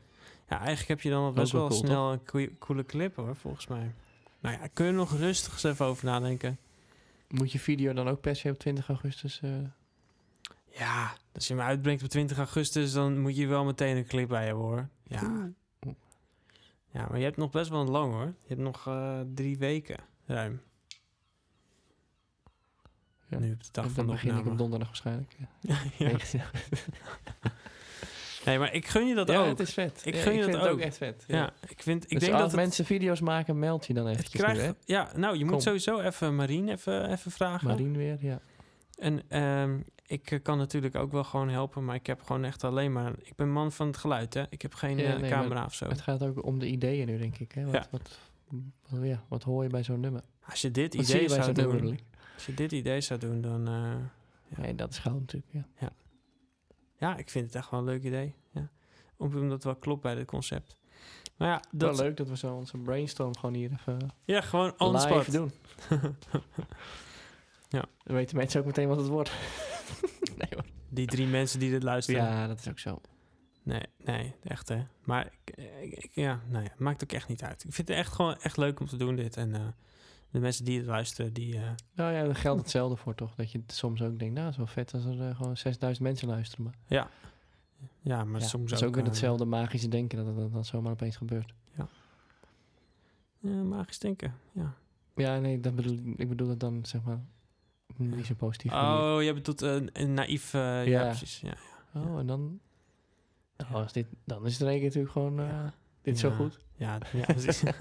S1: Ja, eigenlijk heb je dan al best
S2: wel
S1: wel
S2: cool,
S1: snel een koe- coole clip, hoor, volgens mij. Nou ja, kun je nog rustig eens even over nadenken.
S2: Moet je video dan ook per se op 20 augustus... eh,
S1: Ja, als je hem uitbrengt op 20 augustus, dan moet je wel meteen een clip bij hebben hoor. Ja. ja, maar je hebt nog best wel lang hoor. Je hebt nog eh, drie weken ruim.
S2: Ja,
S1: Nu op de dag
S2: dan
S1: van de
S2: begin ik op
S1: opname.
S2: donderdag waarschijnlijk. Ja.
S1: ja.
S2: Ja.
S1: Nee, maar ik gun je dat
S2: Ja,
S1: ook.
S2: het is vet.
S1: Ik
S2: Ja,
S1: gun je
S2: vind
S1: dat
S2: het ook
S1: ook.
S2: echt vet.
S1: Ja, ik, vind, ik
S2: dus
S1: denk
S2: als
S1: dat het-
S2: mensen video's maken, meld je dan
S1: het,
S2: eventjes
S1: krijgt...
S2: nu, hè?
S1: ja, nou, je moet
S2: Kom.
S1: sowieso even Marien even, even vragen.
S2: Marien weer, ja.
S1: En ehm, ik eh, kan natuurlijk ook wel gewoon helpen, maar ik heb gewoon echt alleen maar... Ik ben man van het geluid, hè. Ik heb geen
S2: Ja,
S1: eh,
S2: nee, maar-
S1: camera of zo.
S2: Het gaat ook om de ideeën nu, denk ik. Hè? Wat,
S1: Ja.
S2: Wat, wat, ja, wat hoor je bij zo'n nummer?
S1: Als je dit
S2: Wat zie
S1: idee
S2: je bij
S1: zou
S2: zo'n
S1: doen...
S2: nummer? bedoel ik?
S1: Als je dit idee zou doen, dan... eh, Ja.
S2: Nee, dat is goud natuurlijk, ja.
S1: ja, ik vind het echt wel een leuk idee. Ja. Om- Omdat het wel klopt bij het concept. Maar ja,
S2: Dat...
S1: dat,
S2: Wel leuk dat we zo onze brainstorm gewoon hier even
S1: ja gewoon on the
S2: live
S1: spot.
S2: doen.
S1: Ja.
S2: Dan weten mensen ook meteen wat het wordt. nee hoor.
S1: Die drie mensen die dit luisteren.
S2: Ja, dat is ook zo.
S1: Nee, nee, echt hè. Maar ik, ik- ik- ja, nou ja, maakt ook echt niet uit. Ik vind het echt gewoon echt leuk om te doen dit. En eh, de mensen die het luisteren, die... eh,
S2: Nou ja, daar geldt hetzelfde voor toch. Dat je het soms ook denkt, nou, het is wel vet als er eh, gewoon 6000 mensen luisteren. Maar
S1: ja, maar
S2: ja,
S1: soms
S2: dat is ook weer
S1: eh,
S2: hetzelfde magische denken dat het dan, dan zomaar opeens gebeurt.
S1: ja, magisch denken, ja.
S2: Ja, nee, dat bedoel, ik- ik bedoel het dan zeg maar niet zo positief. manier.
S1: Oh, je bedoelt een, een naïef... eh, ja.
S2: Ja.
S1: precies. Ja,
S2: Oh, en dan... Oh, als dit, dan is het in één keer natuurlijk gewoon... eh,
S1: Ja.
S2: Dit is zo
S1: Ja.
S2: goed.
S1: ja, ja, precies. ja,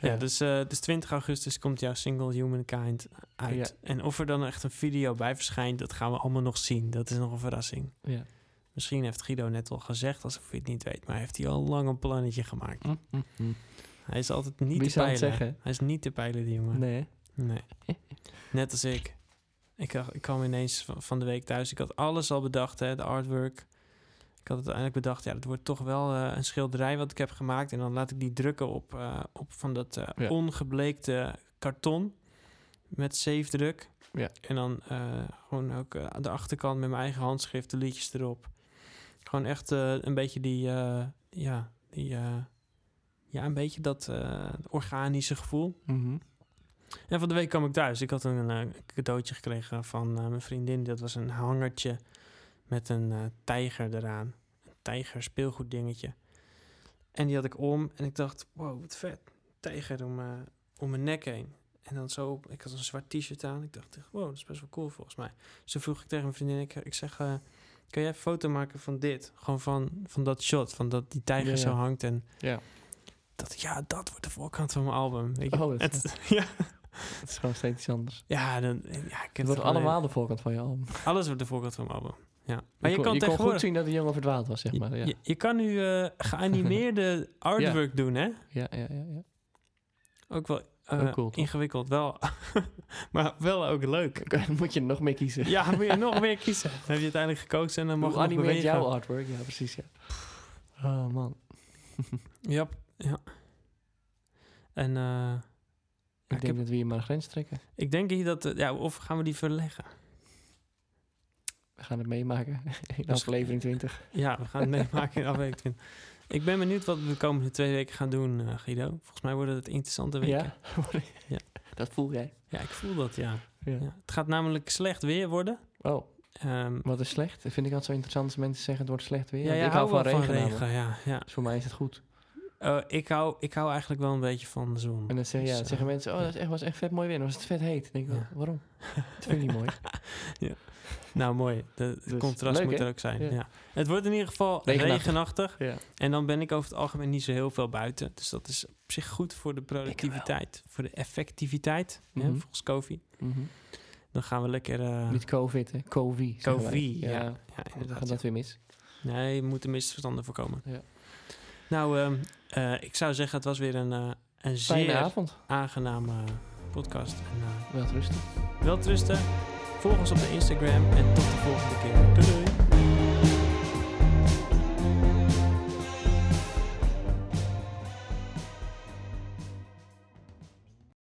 S2: Ja.
S1: dus, eh, dus 20 augustus komt jouw single Humankind uit. En of er dan echt een video bij verschijnt, dat gaan we allemaal nog zien. Dat is nog een verrassing.
S2: Ja.
S1: Misschien heeft Guido net al gezegd, alsof je het niet weet, maar heeft hij al lang een plannetje gemaakt. Hij is altijd niet
S2: Wie
S1: te
S2: zou het
S1: peilen.
S2: zeggen?
S1: Hij is niet te peilen, die jongen.
S2: Nee.
S1: Nee. Net als ik. Ik, dacht- ik kwam ineens van, van de week thuis. Ik had alles al bedacht, hè, de artwork. Ik had het uiteindelijk bedacht, ja, dat wordt toch wel eh, een schilderij wat ik heb gemaakt. En dan laat ik die drukken op, eh, op van dat eh,
S2: Ja.
S1: ongebleekte karton met zeefdruk.
S2: Ja.
S1: En dan eh, gewoon ook eh, aan de achterkant met mijn eigen handschrift, de liedjes erop. Gewoon echt eh, een beetje die, eh, ja, die, eh, ja, een beetje dat eh, organische gevoel. En van de week kwam ik thuis. Ik had een eh, cadeautje gekregen van eh, mijn vriendin. Dat was een hangertje met een eh, tijger eraan. Een tijger speelgoed dingetje. En die had ik om en ik dacht, wow, wat vet. Tijger om, eh, om mijn nek heen. En dan zo, op- ik had een zwart t-shirt aan. Ik dacht, echt, wow, dat is best wel cool volgens mij. Dus toen vroeg ik tegen mijn vriendin, ik, ik zeg, eh, kan jij een foto maken van dit? Gewoon van, van dat shot, van dat die tijger
S2: Ja,
S1: zo
S2: ja.
S1: hangt. En
S2: Ja.
S1: dat, ja, dat wordt de voorkant van mijn album. Weet je.
S2: Oh, dat is-
S1: Het- ja,
S2: Het is gewoon steeds iets anders.
S1: ja, dan, ja, ik heb
S2: Het
S1: het
S2: wordt
S1: gewoon-
S2: allemaal de voorkant van je album.
S1: Alles wordt de voorkant van mijn album. Ja. Maar je,
S2: kon,
S1: kan
S2: je kon
S1: tegenwoordig...
S2: goed zien dat de jongen verdwaald was, zeg maar. Ja,
S1: je, je kan nu eh, geanimeerde artwork doen, hè?
S2: ja, ja. ja, ja.
S1: Ook wel eh,
S2: Ook cool, toch?
S1: ingewikkeld, wel. maar wel ook leuk.
S2: Dan moet je nog meer kiezen.
S1: Ja, moet je nog meer kiezen. Dan heb je uiteindelijk gekozen en dan mag
S2: Hoe
S1: je nog
S2: animeert
S1: bewegen.
S2: jouw artwork? Ja, precies, ja. Oh, man.
S1: Ja, ja. En eh, ja,
S2: Ik
S1: ik,
S2: denk
S1: heb-
S2: dat we hier maar een grens trekken.
S1: ik denk hier dat... eh, Ja, of gaan we die verleggen?
S2: We gaan het meemaken in
S1: is-
S2: aflevering 20.
S1: Ja, we gaan het meemaken in aflevering 20. Ik ben benieuwd wat we de komende twee weken gaan doen, eh, Guido. Volgens mij worden het interessante weken.
S2: Ja?
S1: Ja.
S2: Dat voel jij.
S1: Ja, ik voel dat, ja.
S2: Ja.
S1: ja. Het gaat namelijk slecht weer worden.
S2: Oh,
S1: Ehm,
S2: wat is slecht? Dat vind ik altijd zo interessant als mensen zeggen het wordt slecht weer.
S1: ja,
S2: Want
S1: ja,
S2: ik hou van regen. namelijk.
S1: regen ja, ja.
S2: Dus voor mij is het goed.
S1: Eh, ik, hou, ik hou eigenlijk wel een beetje van de zon.
S2: En dan zeggen,
S1: Dus,
S2: ja, dan
S1: eh,
S2: zeggen mensen, oh, dat is echt, was echt vet mooi weer. Dan was het vet heet. Dan denk ik,
S1: Ja.
S2: oh, waarom? Dat vind ik niet mooi.
S1: Nou, mooi. De, het
S2: Dus,
S1: contrast
S2: leuk,
S1: moet
S2: hè?
S1: er ook zijn.
S2: Ja.
S1: Ja. Het wordt in ieder geval
S2: Regenachtig.
S1: regenachtig.
S2: Ja.
S1: En dan ben ik over het algemeen niet zo heel veel buiten. Dus dat is op zich goed voor de productiviteit, voor de effectiviteit.
S2: Mhm.
S1: hè, volgens Kofi.
S2: Mhm.
S1: Dan gaan we lekker. eh,
S2: Niet COVID, hè. COVID. zeggen wij.
S1: Covid, ja.
S2: ja.
S1: ja,
S2: Dan
S1: inderdaad,
S2: gaat dat weer mis.
S1: Nee, je moet de misverstanden voorkomen.
S2: Ja.
S1: Nou, ehm, eh, ik zou zeggen, het was weer een, eh, een
S2: Fijne
S1: zeer
S2: avond.
S1: aangename podcast. En, eh,
S2: Wel rustig.
S1: welterusten. Volg ons op de Instagram en tot de volgende keer. Doei doei!